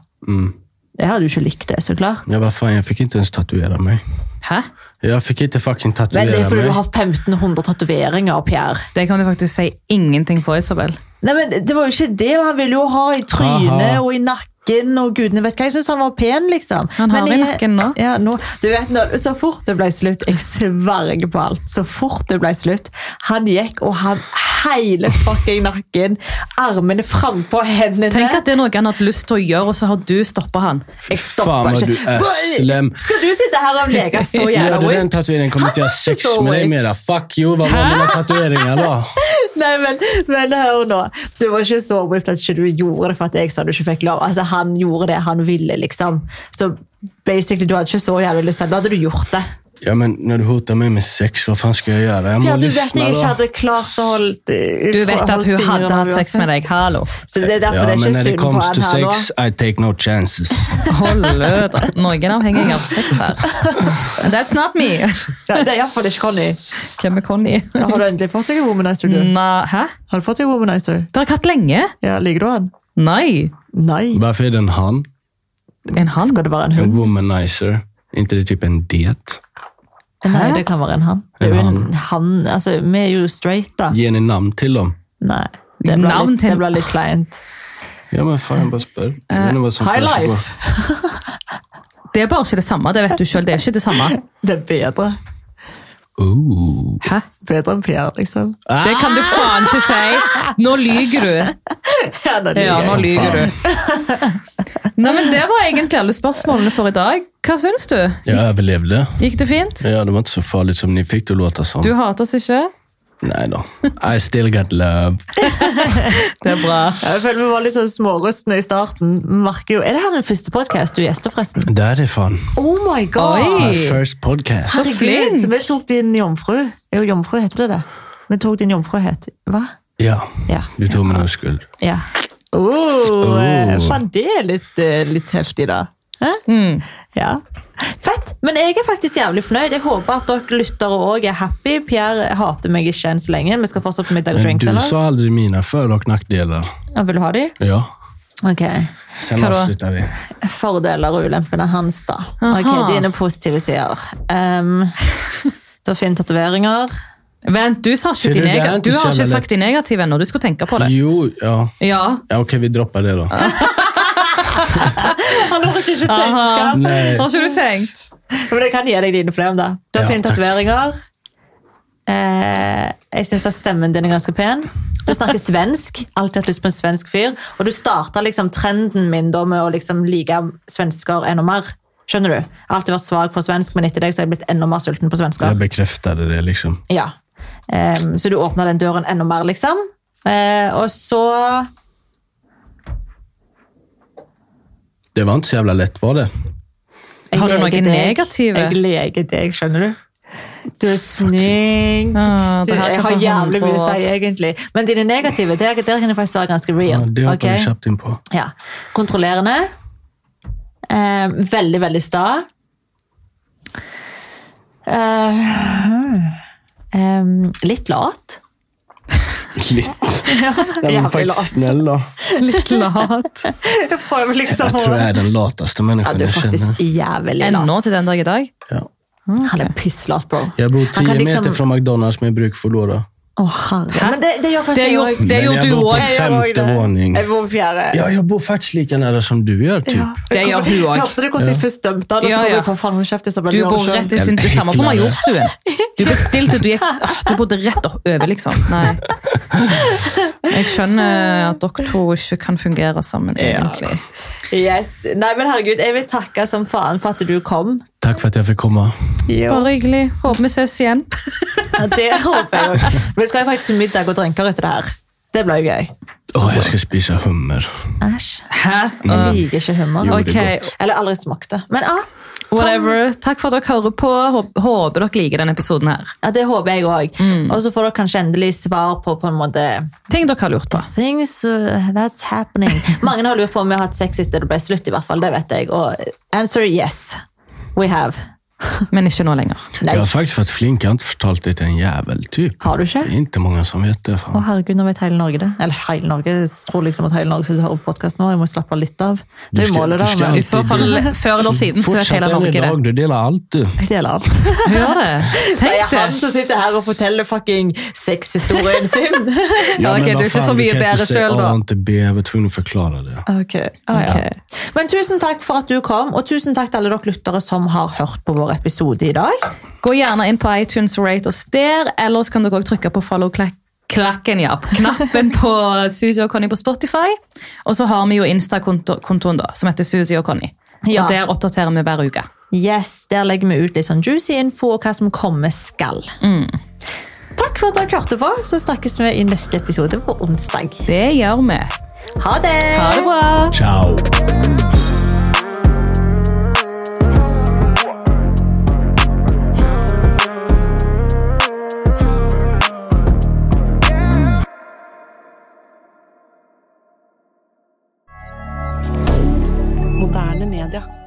Jeg hadde jo ikke likt det, så klart. ja, vad fan, jag fick inte ens tatuera mig. Hæ? Jag fick inte fucking tatuera Men det er fordi mig. du har 1500 tatoveringer, Pierre. Det kan du faktisk si ingenting på, Isabel. Nei, men Det var jo ikke det. Han ville jo ha i trynet Aha. og i nakken og gudene vet hva. Jeg syns han var pen, liksom. Han har Men i jeg- nakken nå. Ja, nå. Du vet, når, så fort det ble slutt Jeg sverger på alt. Så fort det ble slutt Han gikk og han hele fucking nakken. Armene frampå hendene. Tenk at det er noe han har hatt lyst til å gjøre, og så har du stoppa han. jeg Faen, stopper men ikke. du er slem. Skal du sitte her og leke så Gör jævla du den weird? tatueringen kommer inte jag ha Han var inte sex så med dig weak. mera. Fuck you, vad var mina tatueringar då? Nei, men, men hør nå. Du var ikke så whipped at ikke du gjorde det for at jeg sa du ikke fikk lov. Altså, Han gjorde det han ville, liksom. Så basically, du hadde ikke så jævlig lyst til det. Da hadde du gjort det. Ja, men når du hotar mig med sex, vad fan ska jag göra? Jag må Ja, du vet lyssna jeg ikke då. hadde klart å holde Du vet at hun hadde hatt sex med deg. Hallo. Så det er derfor det men er ikke när det synd på comes han to her nå. sex, I take no chances. Hollød. Noen avhenger av sex her. That's not me. Ja, det er iallfall ikke Conny. Hvem er Conny? Har du endelig fått deg en womanizer, du? Na, hæ? Har du fått deg en womanizer? Dere har ikke hatt lenge? Ja, Liker du han? Nei. Nei. Varför är det en han? En han? Skal det være en hund? En womanizer? Är inte det typ en det? Nei, det kan være en han. Det er jo en han. Altså, vi er jo straight, da. Ger ni namn till dem? Nei. Det blir Navn litt, til- det blir litt kleint. Ja, men fan, jag bara spör. Jag vet inte vad som Eh, High flashar på. life. Det er bare ikke det samme. Det vet du sjøl. Det er ikke det samme. Det er bedre. Ooh. Hæ? Bedre enn Pierre, liksom. Det kan du faen ikke si! Nå lyver du. Ja, det Ja, nå Som lyver faen. du. Nei, men Det var egentlig alle spørsmålene for i dag. Hva syns du? Jag överlevde. Gikk det fint? Ja, det var inte så farligt som ni fick det att låta som. Du hater oss ikke? Nej då. sånn? I still got love. Det er bra. Jeg føler vi var litt sånn smårustne i starten. Vi Merker jo, Er det her den første podkast du gjester, forresten? Det är det fan. Oh my god! Oi. My first podcast. Så Herregud, flink! så vi tok din jomfru. Jo, jomfru heter det det. Vi tok din jomfruhet. Hva? Ja, Ja. du tog min oskuld. ja. Oh, eh, Oh. Faen, det er litt, eh, litt heftig, da. Hæ? Ja. Fett! Men jeg er faktisk jævlig fornøyd. Jeg håper at dere lyttere òg er happy. Pierre hater meg ikke enn så lenge. Vi skal fortsatt på middag og Men drinks, du eller? sa aldrig mina för och nackdelar. Ja, Vil du ha de? Ja. Ok. Sen Vadå? avslutar vi. fordeler og ulempene hans, da. Aha. Ok, Dine positive sider. Ehm, du har fine tatoveringer. Vent, du, sa ikke Ser du, de det er nega- ikke du har så ikke jævla sagt de negative ennå. Du skulle tenke på det. Jo, ja. Ja. ja Okej, vi droppar det då. Han orker ikke Aha. Nej. Har ikke du tenkt? Men jeg kan gi deg dine for dem, da. Du har Ja, fine takk. tatoveringer. Eh, jeg syns at stemmen din er ganske pen. Du snakker svensk. Alltid hatt lyst på en svensk fyr. Og du starta liksom trenden min da med å liksom like svensker enda mer. Skjønner du? Alltid vært svak for svensk, men etter deg så har jeg blitt enda mer sulten på svensker. Jag bekräftade det liksom. Ja. Ehm, så du åpner den døren enda mer, liksom. Eh, og så Det var inte så jävla lätt var det. Jeg Har du leker deg. noen negative? Jeg leker deg, skjønner du? Du er snygg. Ah, Du, det her jeg kan har ta hånd jævlig mye å på. si, egentlig. Men dine negative, der, der kan jeg faktisk være ganske Ja, real. det hoppade ok? vi köpt in på. Ja. Kontrollerende. Eh, veldig, veldig sta. hmm. Eh, eh, litt lat. Litt. Den var Jævlig faktiskt lat. snäll då. Litt lat. Jeg prøver liksom Jag tror jag är den lataste Ja, människan du er jag känner. faktisk jævlig lat. Ennå til den dag i dag. Ja. Han er pisslat, bro. Jag bor Han kan 10 meter liksom- från McDonalds med bruk för då. Å, herre. Men det, det gjør faktisk Det jeg gjør- også. Det Men gjorde jag du bor på också. Jeg gjør også femte det. våning. Jeg bor på fjerde. Ja, jag bor faktiskt lika nära som du gör typ. Det gjør hun Jeg òg. Hørte du hvordan jeg først dømte han, og Ja, så kom ja. jeg på faen, hun kjefter som en Du bor rett lørsjøl. ved siden- det samme på Jævla hyggelig. Majorstuen. Du bestilte, du gikk Åh, Du bodde rett opp- over, liksom. Nei. Jeg skjønner at dere to ikke kan fungere sammen, egentlig. Yes. Nei, men herregud, jeg vil takke som faen for at du kom. Tack för att jag fick komma. Bare hyggelig. Håper vi ses igjen. Ja, Det håper jeg også. Vi skal jo faktisk til middag og drinker etter det her. Det blir jo gøy. Åh, jag ska spisa hummer. Æsj. Hæ? Jeg liker ikke hummer. Jo, det altså. er Ok, Eller aldri smakt det. Men ah, whatever. Takk for at dere hører på. Håp- Håper dere liker denne episoden her. ja, det håper jeg òg. Og så får dere kanskje endelig svar på på en måte Ting dere har lurt på. Things uh, that's happening. Mange har lurt på om vi har hatt sex etter det ble slutt, i hvert fall. Det vet jeg. Og answer yes. We have. Men ikke nå lenger. Nei, Jag har faktiskt varit flink, jag har inte förtalt det till en jävel typ. har du ikke? Det är inte många som vet det. Å Fan. herregud, nå vet hele Norge det. Eller hele Norge, jeg tror liksom at hele Norge sitter og hører på podkast nå. Jeg må slappe litt av. Det er Du jo skal- målet, du da. skal Men I så fall før eller siden så er Fortsätt hele än Norge det. idag, du delar allt du. jeg deler alt. Gjør det. Det er Tenk det. han som sitter her og forteller fucking sexhistorien sin. Ja, ok, men du er vad ikke fan, så vi mye kan inte bedre säga selv, A da. og inte B, jeg var tvungen att förklara det. Ok, ah, ja. Ok. Men tusen takk for at du kom, og tusen takk til alle dere lyttere som har hørt på vår episode i dag. Gå gjerne inn på iTunes og rate oss der, ellers kan dere også trykke på follow-klakken, ja. Knappen på Suzy og Conny på Spotify. Og så har vi jo Insta-kontoen da, som heter Suzy og Conny. Ja. Og der oppdaterer vi hver uke. Yes, Der legger vi ut litt sånn juicy info og hva som kommer skal. Mm. Takk for at dere hørte på, så snakkes vi i neste episode på onsdag. Det gjør vi. Ha det! Ha det bra! Ciao! Moderne media.